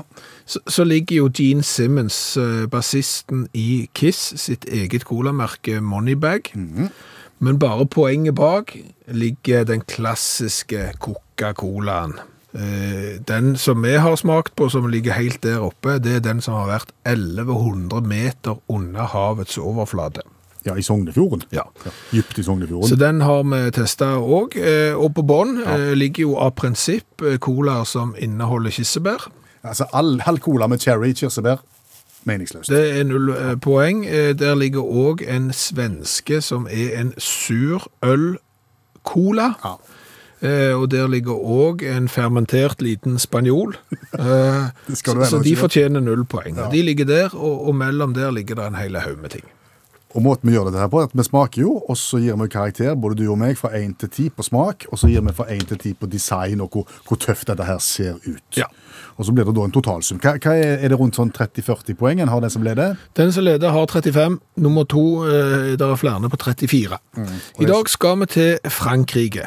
Speaker 6: så, så ligger jo Gene Simmons, eh, bassisten i Kiss, sitt eget colamerke Moneybag. Men bare poenget bak ligger den klassiske Coca-Colaen. Eh, Den som vi har smakt på, som ligger helt der oppe, det er den som har vært 1100 meter under havets overflate.
Speaker 4: ja, i Sognefjorden.
Speaker 6: Ja.
Speaker 4: Dypt i
Speaker 6: Så
Speaker 4: Sognefjorden.
Speaker 6: den har vi testa òg. Og på bånn eh, ligger jo av prinsipp eh, colaer som inneholder kirsebær.
Speaker 4: Altså, all, halv cola med cherry, kirsebær, meningsløst.
Speaker 6: Det er null eh, poeng. Eh, Der ligger òg en svenske som er en sur øl-cola.
Speaker 4: Ja.
Speaker 6: Eh, Og der ligger òg en fermentert liten spanjol. Eh,
Speaker 4: Det skal du
Speaker 6: så
Speaker 4: ennå
Speaker 6: så de
Speaker 4: ikke.
Speaker 6: fortjener null poeng. De ligger der, og, og mellom der ligger det en hel haug med ting.
Speaker 4: Og måten vi gjør dette her på, er at vi smaker jo, og så gir vi karakter, både du og meg, fra 1 til 10 på smak, og så gir vi fra 1 til 10 på design og hvor, hvor tøft dette her ser ut.
Speaker 6: Ja.
Speaker 4: Og så blir det da en totalsum. Hva, hva er, er det rundt sånn 30-40 poeng en har den som leder?
Speaker 6: Den som leder har 35. Nummer to eh, der er flere på 34. I dag skal vi til Frankrike.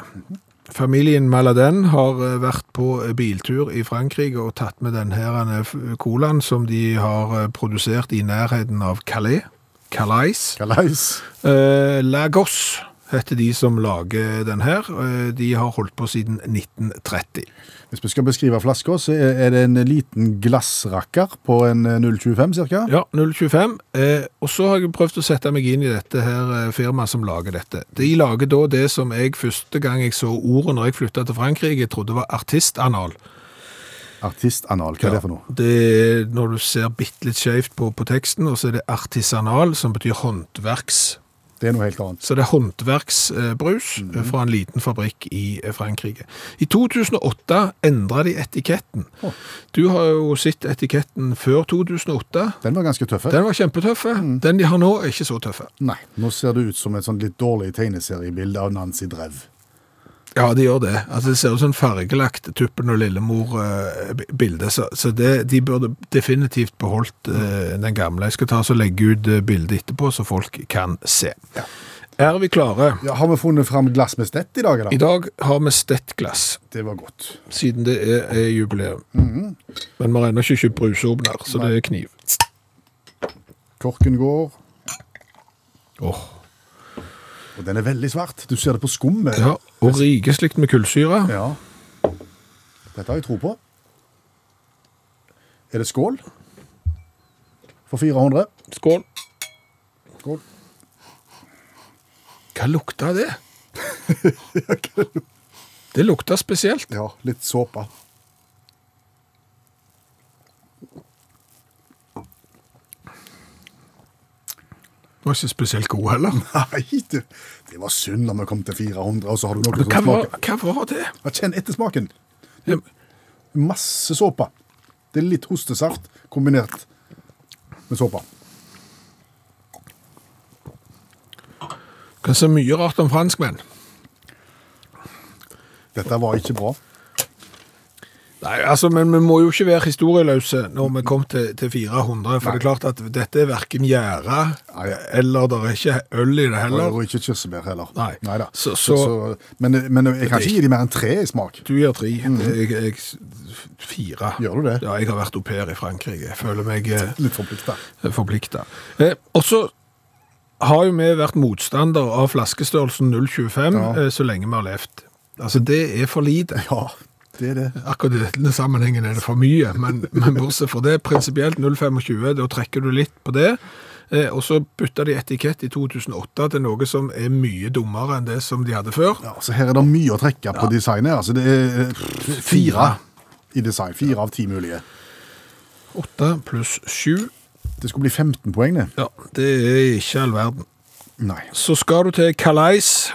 Speaker 6: Familien Maladin har eh, vært på eh, biltur i Frankrike og tatt med den her eh, f- colaen som de har eh, produsert i nærheten av Calais. Calais.
Speaker 4: Kalais.
Speaker 6: Eh, Lagos heter de som lager den her. Eh, de har holdt på siden 1930.
Speaker 4: Hvis vi skal beskrive flasker, så er er det en liten glassrakker på en eh, 0,25 cirka.
Speaker 6: Ja, 025. Eh, og så har jeg prøvd å sette meg inn i dette her eh, firmaet som lager dette. De lager da det som jeg første gang jeg så ordet når jeg flytta til Frankrike, trodde var artistanal.
Speaker 4: Artistanal, hva er det for noe?
Speaker 6: Det er når du ser bitte litt skjevt på, på teksten, og så er det artisanal, som betyr håndverks.
Speaker 4: Det er noe helt annet.
Speaker 6: Så det er håndverksbrus
Speaker 4: Mhm.
Speaker 6: eh, fra en liten fabrikk i eh, Frankrike. I 2008 endra de etiketten. Du har jo sett etiketten før 2008.
Speaker 4: Den var ganske tøff. eh?
Speaker 6: Den var kjempetøffe.
Speaker 4: Mhm.
Speaker 6: Den de har nå, er ikke så tøffe.
Speaker 4: Nei, nå ser det ut som et sånn litt dårlig tegneseriebilde av Nancy Drev.
Speaker 6: Ja, de gjør det. Altså, det ser ut som en fargelagt Tuppen og Lillemor-bilde, så, så det, de burde definitivt beholdt eh, den gamle. Jeg skal ta og legge ut eh, bildet etterpå, så folk kan se. Er vi klare?
Speaker 4: Ja, har vi funnet fram glass med stett i dag, da?
Speaker 6: I dag har vi stettglass,
Speaker 4: Det var godt.
Speaker 6: siden det er, er jubileum. Men vi har ennå ikke kjøpt brusåpner, så det er kniv.
Speaker 4: Korken går,
Speaker 6: Åh.
Speaker 4: og den er veldig svart. Du ser det på skummet.
Speaker 6: Ja, og rikeslikt med kullsyre.
Speaker 4: Ja. Dette har jeg tro på. Er det skål? For 400?
Speaker 6: Skål.
Speaker 4: Skål.
Speaker 6: Hva lukta det? det lukta spesielt.
Speaker 4: Ja, litt såpe.
Speaker 6: Det var ikke spesielt god heller.
Speaker 4: Nei, du. Det var synd når vi kom til 400, og så har du noe
Speaker 6: Men
Speaker 4: som
Speaker 6: hva var,
Speaker 4: smaker.
Speaker 6: hva var det?
Speaker 4: Ja, Kjenn etter smaken.
Speaker 6: Ja,
Speaker 4: Masse såpe. Det er litt hostesaft kombinert med såpe.
Speaker 6: Kan si mye rart om franskmenn.
Speaker 4: Dette var ikke bra.
Speaker 6: Nei, altså, men vi må jo ikke være historieløse når vi kom til, til 400, for det er klart at dette er verken gjære,
Speaker 4: Nei.
Speaker 6: eller det er ikke øl i det
Speaker 4: Eller,
Speaker 6: heller.
Speaker 4: og ikke kirsebær heller.
Speaker 6: Nei.
Speaker 4: Neida.
Speaker 6: Så- så-
Speaker 4: men, men jeg kan ikke gi dem mer enn tre i smak.
Speaker 6: Du gir tre,
Speaker 4: Mhm.
Speaker 6: jeg, jeg fire.
Speaker 4: Gjør du det?
Speaker 6: Ja, jeg har vært au pair i Frankrike. Jeg føler meg... eh,
Speaker 4: Litt forplikta.
Speaker 6: forplikta. Eh, og så har jo vi vært motstander av flaskestørrelsen 0,25 eh, så lenge vi har levd. Altså, det er for lite.
Speaker 4: Ja, det er det.
Speaker 6: Akkurat i denne sammenhengen er det for mye, men, men bortsett fra det, prinsipielt 0,25, da trekker du litt på det.
Speaker 3: Eh, Og så bytta de etikett i 2008 til noe som er mye dummere enn det som de hadde før.
Speaker 4: Ja, så her er det mye å trekke på designet. Altså, det er eh, fire i design. Fire av ti mulige.
Speaker 3: Åtte pluss sju.
Speaker 4: Det skulle bli 15 poeng, det.
Speaker 3: Ja, det er ikke all verden.
Speaker 4: Nei.
Speaker 3: Så skal du til Calais,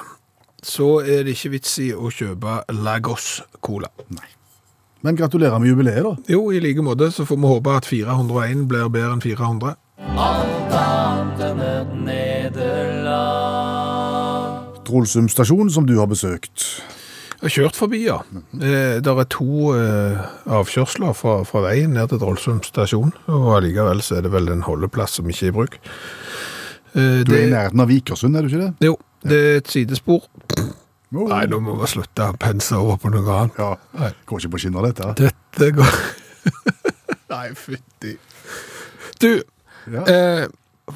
Speaker 3: så er det ikke vits i å kjøpe Lagos Cola.
Speaker 4: Men gratulerer med jubileet, da.
Speaker 3: Jo, i like måte så får vi håpe at 401 blir bedre enn 400.
Speaker 4: Trolsum stasjon, som du har besøkt.
Speaker 3: Jeg har kjørt forbi, ja. Eh, der er to eh, avkjørsler fra, fra veien ned til Drollsum stasjon, og allikevel så er det vel en holdeplass som ikke er i bruk. Eh,
Speaker 4: Du er i nærheten av Vikersund, er du ikke det?
Speaker 3: Jo, det er et sidespor.
Speaker 4: Jo.
Speaker 3: Nei, nå må vi slutte å pense over på noe annet.
Speaker 4: Ja.
Speaker 3: Nei.
Speaker 4: Går ikke på skinner, dette.
Speaker 3: Dette går Nei, fytti. Du,
Speaker 4: Ja.
Speaker 3: eh,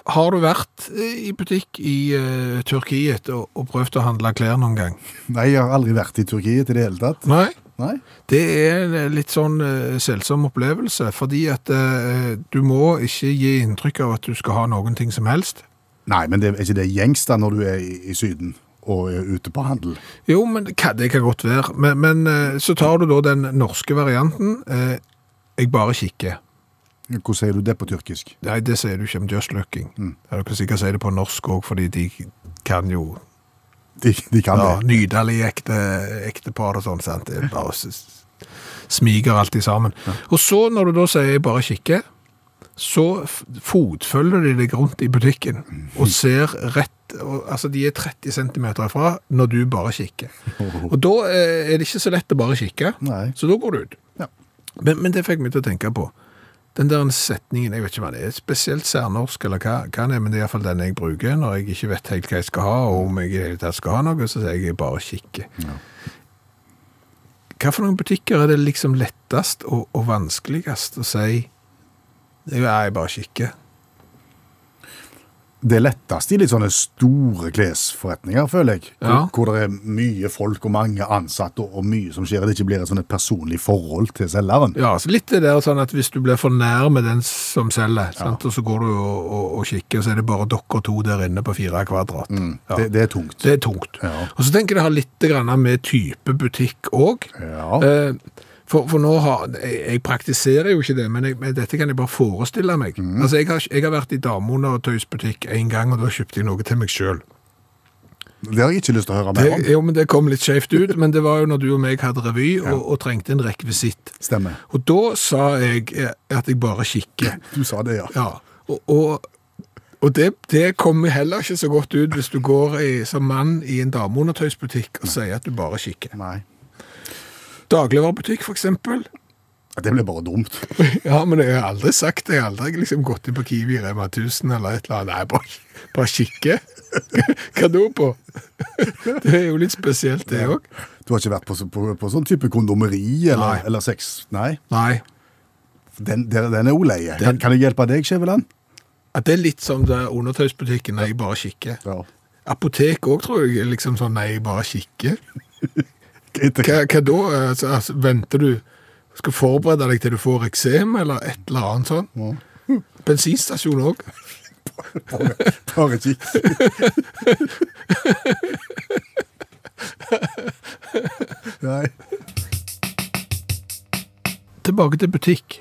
Speaker 3: har du vært eh, i butikk i eh, Tyrkiet og, og prøvd å handle klær noen gang?
Speaker 4: Nei, jeg har aldri vært i Turkiet i det hele tatt.
Speaker 3: Nei.
Speaker 4: Nei?
Speaker 3: Det er en litt sånn eh, selsom opplevelse, fordi at eh, du må ikke gi inntrykk av at du skal ha noen ting som helst.
Speaker 4: Nei, men det er ikke det gjengs da når du er i, i Syden og er ute på handel.
Speaker 3: Jo, men det kan, det kan godt være. Men, men eh, så tar du da den norske varianten. Eh, jeg bare kikker.
Speaker 4: Hvordan sier du det på tyrkisk?
Speaker 3: Nei, det sier du ikke om just looking. Ja, du kan sikkert si det på norsk òg, fordi de kan jo
Speaker 4: De, de kan
Speaker 3: ja,
Speaker 4: det.
Speaker 3: Nydelig ekte ektepar og sånn. sant? Det er bare s- s- smiger alltid sammen. Og så, når du da sier 'jeg bare kikker', så f- fotfølger de deg rundt i butikken og
Speaker 4: Mhm.
Speaker 3: ser rett og, Altså, de er 30 cm ifra når du bare kikker. Og da eh, er det ikke så lett å bare kikke,
Speaker 4: Nei.
Speaker 3: så da går du ut.
Speaker 4: Ja.
Speaker 3: Men, men det fikk meg til å tenke på. Den der setningen, jeg vet ikke hva det er, spesielt særnorsk eller hva, hva det er, men det er iallfall den jeg bruker når jeg ikke vet helt hva jeg skal ha, og om jeg i det hele tatt skal ha noe, så sier jeg bare kikke. Hva for noen butikker er det liksom lettest og, og vanskeligst å si «Nei, jeg bare kikker?
Speaker 4: Det letteste i litt sånne store klesforretninger, føler jeg. Hvor,
Speaker 3: Ja.
Speaker 4: hvor det er mye folk og mange ansatte og, og mye som skjer. Det ikke blir et sånn et personlig forhold til selgeren.
Speaker 3: Ja, så litt det der sånn at hvis du blir for nær med den som selger, sant? og så går du og, og, og kikker, så er det bare dere to der inne på fire kvadrat. Ja.
Speaker 4: Mm. Det, det er tungt.
Speaker 3: Det er tungt.
Speaker 4: Ja.
Speaker 3: Og så tenker jeg det har litt grann med type butikk òg.
Speaker 4: Ja.
Speaker 3: Eh, for, for nå har jeg, jeg praktiserer jo ikke det, men, jeg, men dette kan jeg bare forestille meg. Altså, jeg har, jeg har vært i dameundertøysbutikk én gang, og da kjøpte jeg noe til meg sjøl.
Speaker 4: Det har jeg ikke lyst til å høre mer om.
Speaker 3: Jo, men det kom litt skjevt ut, men det var jo når du og meg hadde revy og, og trengte en rekvisitt.
Speaker 4: Stemmer.
Speaker 3: Og da sa jeg eh, at jeg bare kikker.
Speaker 4: Du sa det, ja.
Speaker 3: Ja, og, og, og det, det kommer heller ikke så godt ut hvis du går i, som mann i en dameundertøysbutikk og sier at du bare kikker.
Speaker 4: Nei.
Speaker 3: Dagligvarerbutikk, for eksempel.
Speaker 4: Det ble bare dumt.
Speaker 3: Ja, men jeg har aldri sagt det. Jeg har aldri liksom gått inn på Kiwi Rema 1000 eller et eller annet. Nei, bare, bare kikke. Hva da på? Det er jo litt spesielt, det òg.
Speaker 4: Du har ikke vært på, så- på, på sånn type kondomeri eller,
Speaker 3: Nei.
Speaker 4: eller sex? Nei.
Speaker 3: Nei.
Speaker 4: Den, den, den er oleie. Kan, kan jeg hjelpe deg, Skjæveland?
Speaker 3: At det er litt som det er undertøysbutikken når jeg bare kikker.
Speaker 4: Ja.
Speaker 3: Apotek òg, tror jeg. er Liksom sånn nei, jeg bare kikker.
Speaker 4: Etter,
Speaker 3: Hva, hva da? Altså, altså, venter du Skal forberede deg til du får eksem, eller et eller annet sånn? Bensinstasjon òg.
Speaker 4: bare kikk. Nei.
Speaker 3: Tilbake til butikk.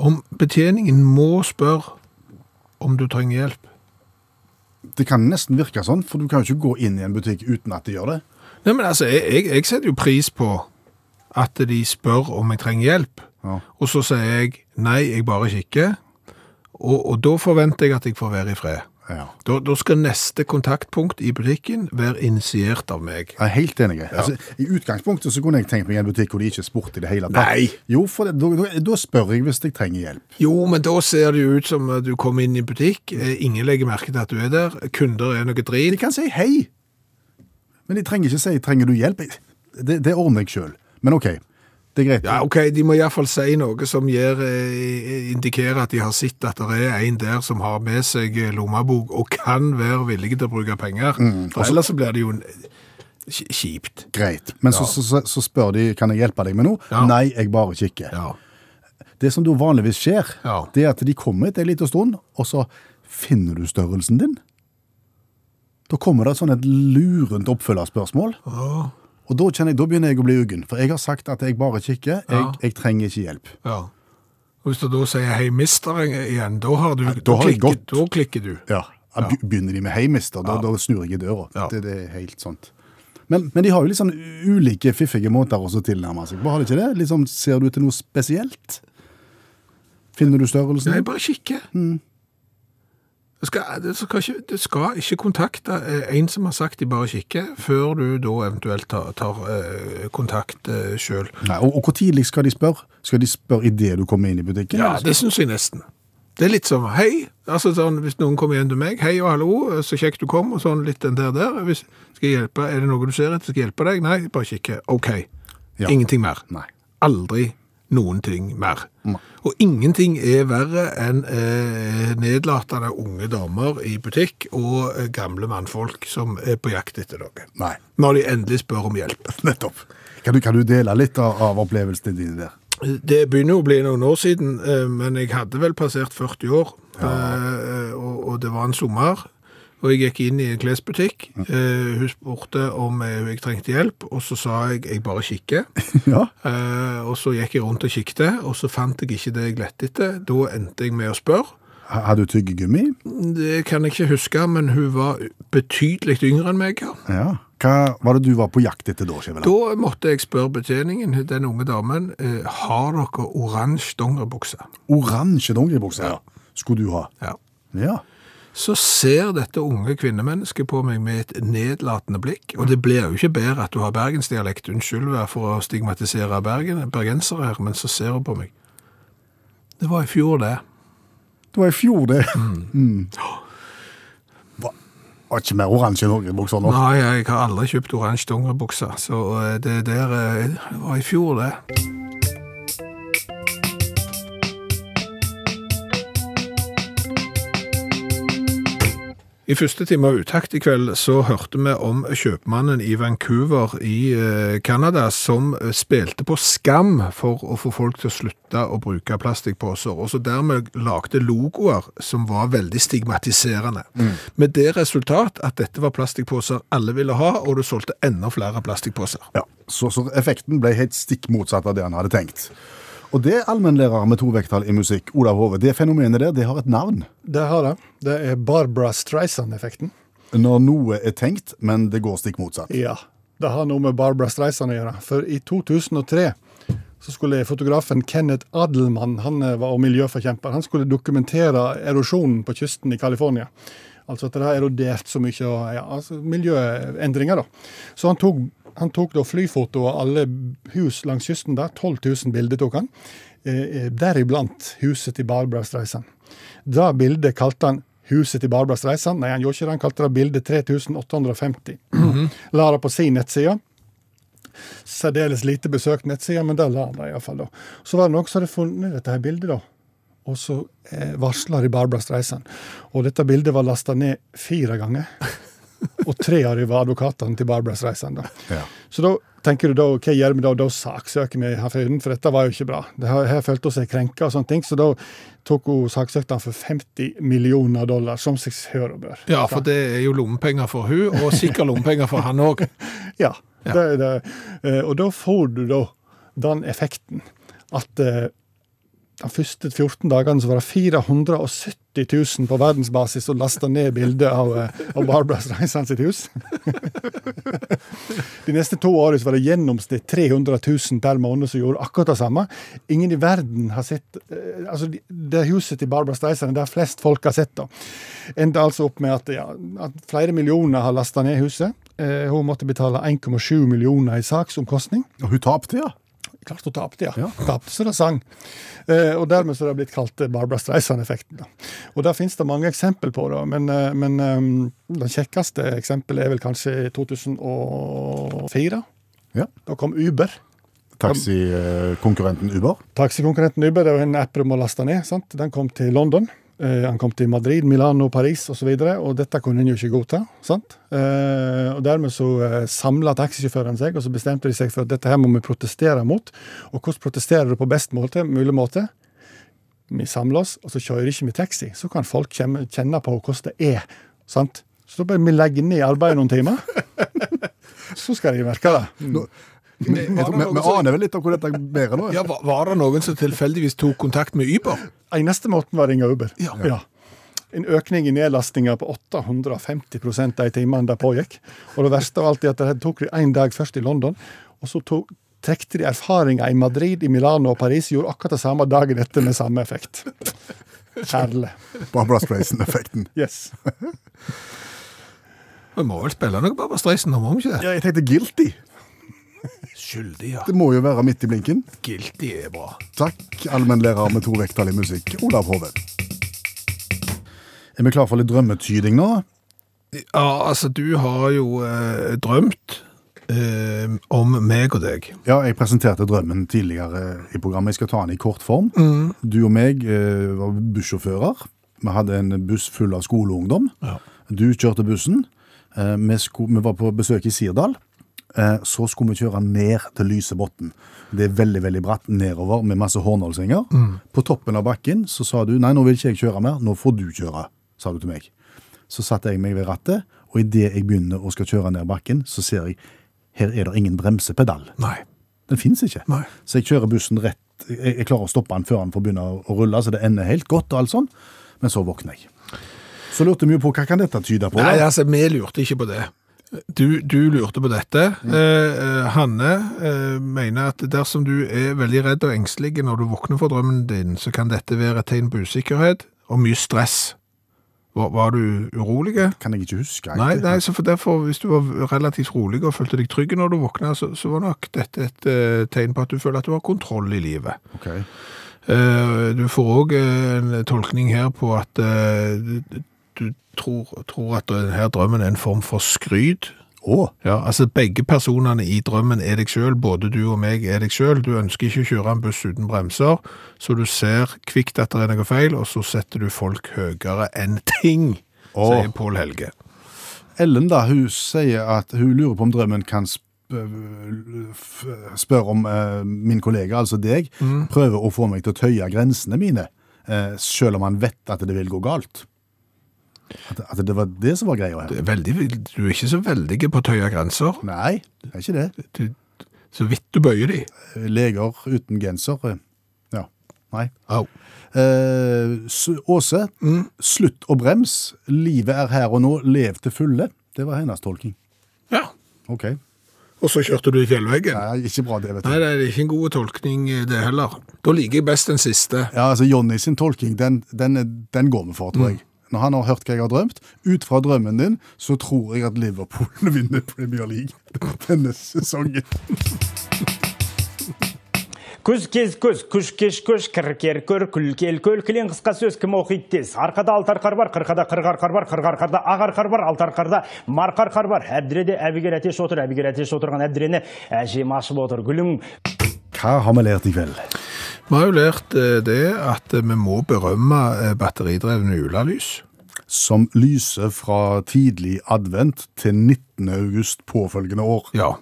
Speaker 3: Om betjeningen må spørre om du trenger hjelp.
Speaker 4: Det kan nesten virke sånn, for du kan jo ikke gå inn i en butikk uten at de gjør det.
Speaker 3: Nei, men altså, jeg, jeg, jeg setter jo pris på at de spør om jeg trenger hjelp.
Speaker 4: Ja.
Speaker 3: Og så sier jeg nei, jeg bare kikker. Og, og da forventer jeg at jeg får være i fred.
Speaker 4: Ja.
Speaker 3: Da, da skal neste kontaktpunkt i butikken være initiert av meg.
Speaker 4: Jeg er helt enig. Altså, I utgangspunktet så kunne jeg tenkt meg en butikk hvor de ikke spurte i det hele tatt.
Speaker 3: Nei.
Speaker 4: Jo, for det, da, da, da spør jeg hvis jeg trenger hjelp.
Speaker 3: Jo, men da ser det jo ut som at du kommer inn i en butikk, eh, ingen legger merke til at du er der, kunder er noe
Speaker 4: De
Speaker 3: drit.
Speaker 4: kan si hei, men de trenger ikke si 'trenger du hjelp'? Det, det ordner jeg sjøl. Men OK, det er greit.
Speaker 3: Ja, ok, de må i hvert fall si noe som gir, eh, indikerer at de har sett at det er en der som har med seg eh, lommebok og kan være villig til å bruke penger.
Speaker 4: Mm.
Speaker 3: For
Speaker 4: Altså-
Speaker 3: ellers så blir det jo en- ki- kjipt.
Speaker 4: Greit. Men så, så, så, så spør de 'kan jeg hjelpe deg med noe'?
Speaker 3: Ja.
Speaker 4: Nei, jeg bare kikker.
Speaker 3: Ja.
Speaker 4: Det som da vanligvis skjer,
Speaker 3: Ja.
Speaker 4: det er at de kommer etter en liten stund, og så Finner du størrelsen din? Da kommer det et sånn et lurent oppfølgerspørsmål.
Speaker 3: Ah.
Speaker 4: Og da, kjenner jeg, da begynner jeg å bli uggen, for jeg har sagt at jeg bare kikker. Jeg,
Speaker 3: Ja.
Speaker 4: jeg trenger ikke hjelp.
Speaker 3: Ja. Og hvis du da sier 'hei, mister' igjen, da har du
Speaker 4: da har jeg
Speaker 3: klikker,
Speaker 4: gått. Mm.
Speaker 3: da klikker du.
Speaker 4: Ja, da be- Begynner de med 'hei, mister', da, da snur jeg i døra.
Speaker 3: Ja.
Speaker 4: Det, det er helt sånt. Men, men de har jo litt sånn ulike fiffige måter også å tilnærme seg på. Har de ikke det? Liksom, ser du til noe spesielt? Finner du størrelsen?
Speaker 3: Nei,
Speaker 4: din?
Speaker 3: bare kikke.
Speaker 4: Mm.
Speaker 3: Det, skal, det, skal ikke, det skal ikke kontakte eh, en som har sagt de bare kikker, før du da eventuelt tar, tar eh, kontakt eh, sjøl.
Speaker 4: Nei, og, og hvor tidlig skal de spørre? Skal de spørre idet du kommer inn i butikken?
Speaker 3: Ja, det syns jeg nesten. Det er litt som hei. altså sånn, Hvis noen kommer igjen til meg, hei og hallo, så kjekt du kom, og sånn litt den der der. Hvis, skal jeg hjelpe, Er det noe du ser etter, skal jeg hjelpe deg? Nei, bare kikke. OK.
Speaker 4: Ja.
Speaker 3: Ingenting mer.
Speaker 4: Nei.
Speaker 3: Aldri noen ting mer. Og ingenting er verre enn eh, nedlatende unge damer i butikk og eh, gamle mannfolk som er på jakt etter noe.
Speaker 4: Nei.
Speaker 3: Når de endelig spør om hjelp.
Speaker 4: Nettopp. Kan du, kan du dele litt av, av opplevelsene dine der?
Speaker 3: Det begynner jo å bli noen år siden, eh, men jeg hadde vel passert 40 år. eh, Og, og det var en sommer, og jeg gikk inn i en klesbutikk. Eh, Hun spurte om eh, jeg trengte hjelp, og så sa jeg jeg bare kikker.
Speaker 4: Ja.
Speaker 3: Eh, Og så gikk jeg rundt og kikket, og så fant jeg ikke det jeg lette etter. Da endte jeg med å spørre.
Speaker 4: Ha- Har du tyggegummi?
Speaker 3: Det kan jeg ikke huske, men hun var betydelig yngre enn meg. ja.
Speaker 4: Ja. Hva var det du var på jakt etter da, Skjæveland?
Speaker 3: Da måtte jeg spørre betjeningen, den unge damen, eh, har dere oransje dongeribukse?
Speaker 4: Oransje dongeribukse ja. skulle du ha.
Speaker 3: Ja.
Speaker 4: Ja.
Speaker 3: så ser dette unge kvinnemennesket på meg med et nedlatende blikk, og det blir jo ikke bedre at du har bergensdialekt, unnskyld meg for å stigmatisere bergen, bergensere her, men så ser hun på meg. Det var i fjor det.
Speaker 4: Det var i fjor, det. Mm. Hva? Var ikke mer oransje dongeribukser nå?
Speaker 3: Nei, jeg har aldri kjøpt oransje dongeribukse, så eh, det der eh, det var i fjor det. I første time av Utakt i kveld så hørte vi om kjøpmannen i Vancouver i eh, Canada som eh, spilte på skam for å få folk til å slutte å bruke plastikkposer, og så dermed lagde logoer som var veldig stigmatiserende. Med det resultat at dette var plastikkposer alle ville ha, og du solgte enda flere plastikkposer.
Speaker 4: Ja. Så, så effekten ble helt stikk motsatt av det han hadde tenkt. Og det allmennlærer med to vekttall i musikk, Olav Hove, det fenomenet der, det har et navn.
Speaker 1: Det har det. Det er Barbara Streisand-effekten.
Speaker 4: Når noe er tenkt, men det går stikk motsatt.
Speaker 1: Ja. Det har noe med Barbara Streisand å gjøre. For i 2003 så skulle fotografen Kenneth Adelmann, han eh, var miljøforkjemper, han skulle dokumentere erosjonen på kysten i California. Altså at det har erodert så mye og ja, altså miljøendringer, da. Så han tok, han tok da flyfoto av alle hus langs kysten der. 12 000 bilder tok han. Eh, eh, Deriblant huset til Barbara Streisand. Det bildet kalte han Huset til Barbara Streisand. Nei, han gjorde ikke det. Han kalte det bildet 3850. La det på sin nettside. Særdeles lite besøkt nettside, men der la han det iallfall, da. Så var det noen som hadde funnet dette her bildet, da. Og så eh, varsla de Barbara Streisand. Og dette bildet var lasta ned fire ganger. Og tre av dem var advokatene til Barbara Streisand. da.
Speaker 4: Ja.
Speaker 1: Så da tenker du da, hva gjør vi da? Da saksøker vi han fyren, for dette var jo ikke bra. Det her, her følte hun seg krenka og sånne ting, så da tok hun saksøkte han for 50 millioner dollar, som seg hør og bør.
Speaker 3: Ja, for det er jo lommepenger for hun, og sikkert lommepenger for han òg.
Speaker 1: Ja. Det, er det. Eh, Og da får du da den effekten at eh, de første 14 dagene så var det 470 000 på verdensbasis som lasta ned bildet av, eh, av Barbara Streisand sitt hus. De neste to årene så var det gjennomsnitt 300 000 per måned som gjorde akkurat det samme. Ingen i verden har sett eh, altså de- Det huset til Barbara Streisand er der flest folk har sett det. Endte altså opp med at, ja, at flere millioner har lasta ned huset. Eh, hun måtte betale 1,7 millioner i saksomkostning.
Speaker 4: Og hun tapte, ja.
Speaker 1: Klart hun tapte, ja. Tapte så det sang. Eh, og dermed så er det blitt kalt eh, Barbra Streisand-effekten. da. Og der finnes det mange eksempel på, da. Men, eh, men eh, det kjekkeste eksempelet er vel kanskje i 2004.
Speaker 4: Ja.
Speaker 1: Da kom Uber.
Speaker 4: Taxikonkurrenten Uber.
Speaker 1: Taxikonkurrenten Uber det er jo en app du må laste ned. sant? Den kom til London. Eh, han kom til Madrid, Milano, Paris osv. Og, så videre, og dette kunne en jo ikke godta. sant? Eh, og Dermed så eh, samla taxisjåførene seg og så bestemte de seg for at dette her må vi protestere mot. Og hvordan protesterer du på best måte, mulig måte? vi samler oss, og så kjører ikke vi taxi. Så kan folk kjenne kjenne på hvordan det er. sant? Så da bare vi legger ned arbeidet noen timer, så skal de merke det.
Speaker 3: Men
Speaker 4: Vi
Speaker 3: var det noen
Speaker 4: vi
Speaker 3: som-
Speaker 4: aner vel litt av hvor dette bærer nå?
Speaker 3: Ja, var, var det noen som tilfeldigvis tok kontakt med Uber?
Speaker 1: Eneste måten var å ringe Uber.
Speaker 3: Ja.
Speaker 1: En økning i nedlastinga på 850 de timene det pågikk. Og det verste av alt er at det tok de én dag først i London, og så tok, trekte de erfaringer i Madrid, i Milano og Paris, gjorde akkurat det samme dagen etter med samme effekt. Herlig.
Speaker 4: Barbara Streisand-effekten.
Speaker 1: Yes.
Speaker 3: Vi må vel spille noe Barbra Streisand, nå må vi ikke det?
Speaker 4: Ja, jeg tenkte guilty.
Speaker 3: Skyldig, ja.
Speaker 4: Det må jo være midt i blinken.
Speaker 3: Guilty er bra.
Speaker 4: Takk, allmennlærer med to vekttall i musikk, Olav Hove. Er vi klar for litt drømmetyding nå?
Speaker 3: Ja, altså, du har jo eh, drømt eh, om meg og deg.
Speaker 4: Ja, jeg presenterte drømmen tidligere i programmet. Jeg skal ta den i kort form. Du og meg eh, var bussjåfører. Vi hadde en buss full av skoleungdom.
Speaker 3: Ja.
Speaker 4: Du kjørte bussen. Eh, vi, sko vi var på besøk i Sirdal. Eh, så skulle vi kjøre ned til Lysebotn. Det er veldig veldig bratt nedover med masse hårnålsenger. På toppen av bakken så sa du nei, nå vil ikke jeg kjøre mer, nå får du kjøre. sa du til meg. Så satte jeg meg ved rattet, og idet jeg begynner å skal kjøre ned bakken, så ser jeg her er det ingen bremsepedal.
Speaker 3: Nei.
Speaker 4: Den finnes ikke.
Speaker 3: Nei.
Speaker 4: Så jeg kjører bussen rett. Jeg, jeg klarer å stoppe den før den får begynne å- å rulle, så det ender helt godt og alt sånn. Men så våkner jeg. Så lurte vi jo på hva kan dette tyde på.
Speaker 3: Nei,
Speaker 4: da?
Speaker 3: altså, vi lurte ikke på det. Du, du lurte på dette. Eh, eh, Hanne eh, mener at dersom du er veldig redd og engstelig når du våkner for drømmen din, så kan dette være et tegn på usikkerhet og mye stress. Var, var du urolig?
Speaker 4: Kan jeg ikke huske.
Speaker 3: Nei,
Speaker 4: egentlig.
Speaker 3: nei så for derfor, hvis du var relativt rolig og følte deg trygg når du våkna, så, så var nok dette et eh, tegn på at du føler at du har kontroll i livet.
Speaker 4: Ok.
Speaker 3: Eh, Du får òg en tolkning her på at eh, du- du tror, tror at den her drømmen er en form for skryt.
Speaker 4: Å,
Speaker 3: Ja, altså Begge personene i drømmen er deg sjøl, både du og meg er deg sjøl. Du ønsker ikke å kjøre en buss uten bremser, så du ser kvikt at det er noe feil, og så setter du folk høyere enn ting,
Speaker 4: Åh.
Speaker 3: sier Pål Helge.
Speaker 4: Ellen da, hun sier at hun lurer på om drømmen kan sp f- spørre om eh, min kollega, altså deg,
Speaker 3: Mm.
Speaker 4: prøver å få meg til å tøye grensene mine, eh, selv om han vet at det vil gå galt. At, at det var det som var greia her.
Speaker 3: Det er veldig- Du er ikke så veldig på å tøye grenser.
Speaker 4: Nei, det er ikke det.
Speaker 3: Du, så vidt du bøyer de.
Speaker 4: leger uten genser. eh, Ja, nei.
Speaker 3: Au.
Speaker 4: Eh, S- Åse, slutt å brems. Livet er her og nå, lev til fulle. Det var hennes tolking.
Speaker 3: Ja.
Speaker 4: Ok.
Speaker 3: Og så kjørte du i fjellveggen.
Speaker 4: Nei, ikke bra det, vet
Speaker 3: Nei,
Speaker 4: du.
Speaker 3: det er ikke en god tolkning eh, det heller. Da liker jeg best den siste.
Speaker 4: Ja, altså Jonny sin tolking, den, den, er- den går vi for, tror jeg. Når han har hørt hva jeg har drømt, ut fra drømmen din, så tror jeg at Liverpool vinner Premier League denne sesongen.
Speaker 9: көз көз күш кеш көш кір кер көр күл кел көл кілең қысқа сөз кім оқиды тез арқада алты арқар бар қырқада қырық арқар бар қырық арқарда ақ арқар бар алты арқарда марқа арқар бар әбдіреде әбігер әтеш отыр әбігер әтеш отырған әбдірені әжем ашып отыр гүлім
Speaker 4: Hva har vi lært i kveld?
Speaker 3: Vi har jo lært eh, det at eh, vi må berømme eh, batteridrevne julelys.
Speaker 4: Som lyser fra tidlig advent til 19. august påfølgende år.
Speaker 3: Ja.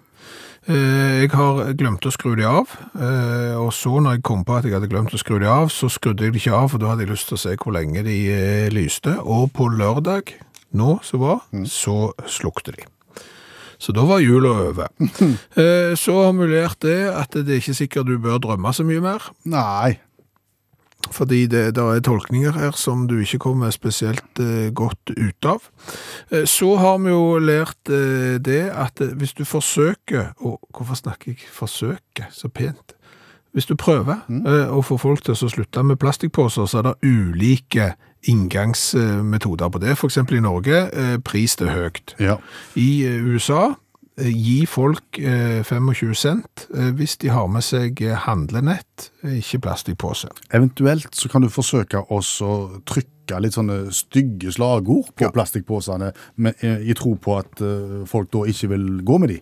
Speaker 3: Eh, Jeg har glemt å skru de av, eh, og så når jeg kom på at jeg hadde glemt å skru de av, så skrudde jeg de ikke av, for da hadde jeg lyst til å se hvor lenge de eh, lyste. Og på lørdag, nå som var, så slukte de. Så da var jula over. Eh, Så har vi lært det at det er ikke sikkert du bør drømme så mye mer.
Speaker 4: Nei,
Speaker 3: fordi det der er tolkninger her som du ikke kommer spesielt eh, godt ut av. Eh, så har vi jo lært eh, det at eh, hvis du forsøker å Hvorfor snakker jeg 'forsøke' så pent? Hvis du prøver eh, å få folk til å slutte med plastikkposer, så er det ulike inngangsmetoder på det. F.eks. i Norge, eh, pris det høyt.
Speaker 4: Ja.
Speaker 3: I eh, USA eh, gi folk eh, 25 cent eh, hvis de har med seg eh, handlenett, eh, ikke plastikkpose.
Speaker 4: Eventuelt så kan du forsøke også å trykke litt sånne stygge slagord på plastikkposene med, eh, i tro på at eh, folk da ikke vil gå med de.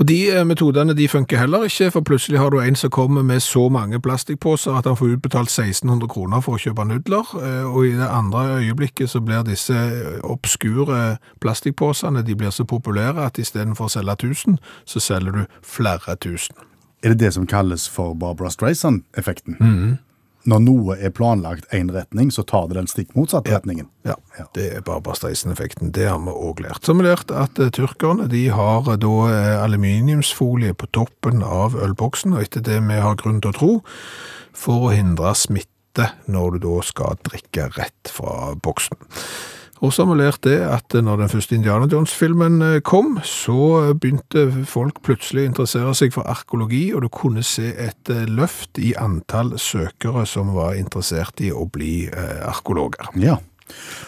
Speaker 3: Og de eh, metodene de funker heller ikke, for plutselig har du en som kommer med så mange plastikkposer at han får utbetalt 1600 kroner for å kjøpe nudler, eh, og i det andre øyeblikket så blir disse eh, obskure plastikkposene, de blir så populære at istedenfor å selge 1000, så selger du flere tusen.
Speaker 4: Er det det som kalles for Barbara Streisand-effekten? når noe er planlagt én retning, så tar det den stikk motsatte retningen.
Speaker 3: Ja, det er Barbastreisen-effekten. Det har vi òg lært. Så har vi lært at eh, tyrkerne de har eh, da eh, aluminiumsfolie på toppen av ølboksen, og etter det vi har grunn til å tro, for å hindre smitte når du da skal drikke rett fra boksen. Og så har vi lært det at eh, når den første Indiana Jones-filmen eh, kom, så eh, begynte folk plutselig å interessere seg for arkeologi, og du kunne se et eh, løft i antall søkere som var interessert i å bli eh, arkeologer.
Speaker 4: Ja.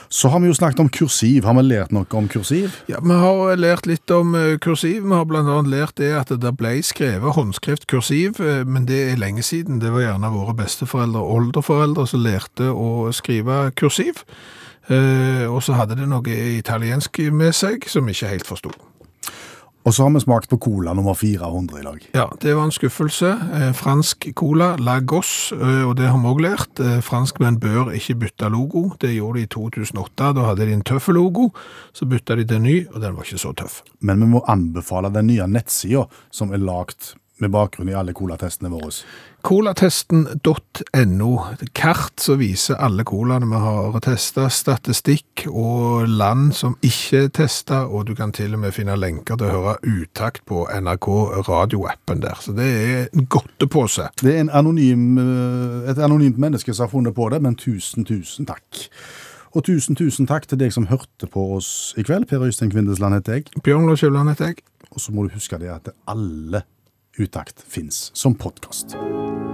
Speaker 4: Så har vi jo snakket om kursiv. Har vi lært noe om kursiv?
Speaker 3: Ja, Vi har lært litt om eh, kursiv. Vi har bl.a. lært det at det ble skrevet håndskrift kursiv, eh, men det er lenge siden. Det var gjerne våre besteforeldre og oldeforeldre som lærte å skrive kursiv. Eh, Og så hadde det noe italiensk med seg som vi ikke helt forsto.
Speaker 4: Og så har vi smakt på cola nummer 400 i dag.
Speaker 3: Ja, det var en skuffelse. Eh, Fransk cola, Lagos, eh, og det har vi òg lært. Eh, Franskmenn bør ikke bytte logo. Det gjorde de i 2008. Da hadde de en tøff logo. Så bytta de til en ny, og den var ikke så tøff.
Speaker 4: Men vi må anbefale den nye nettsida som er lagd med bakgrunn i alle colatestene våre.
Speaker 3: Colatesten.no. Kart som viser alle colaene vi har testa, statistikk og land som ikke er testa, og du kan til og med finne lenker til å høre utakt på NRK radioappen der. Så det er en godtepose.
Speaker 4: Det er en anonym, eh, et anonymt menneske som har funnet på det, men tusen, tusen takk. Og tusen, tusen takk til deg som hørte på oss i kveld. Per Øystein Kvindesland heter jeg.
Speaker 3: Bjørn Lars Kjøvland heter jeg.
Speaker 4: Og så må du huske det at alle Utakt fins som podkast.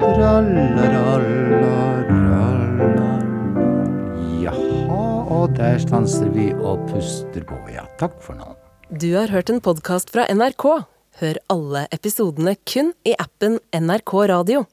Speaker 2: Trallarallarallar. Jaha, og der stanser vi og puster på. Ja, takk for nå.
Speaker 10: Du har hørt en podkast fra NRK. Hør alle episodene kun i appen NRK Radio.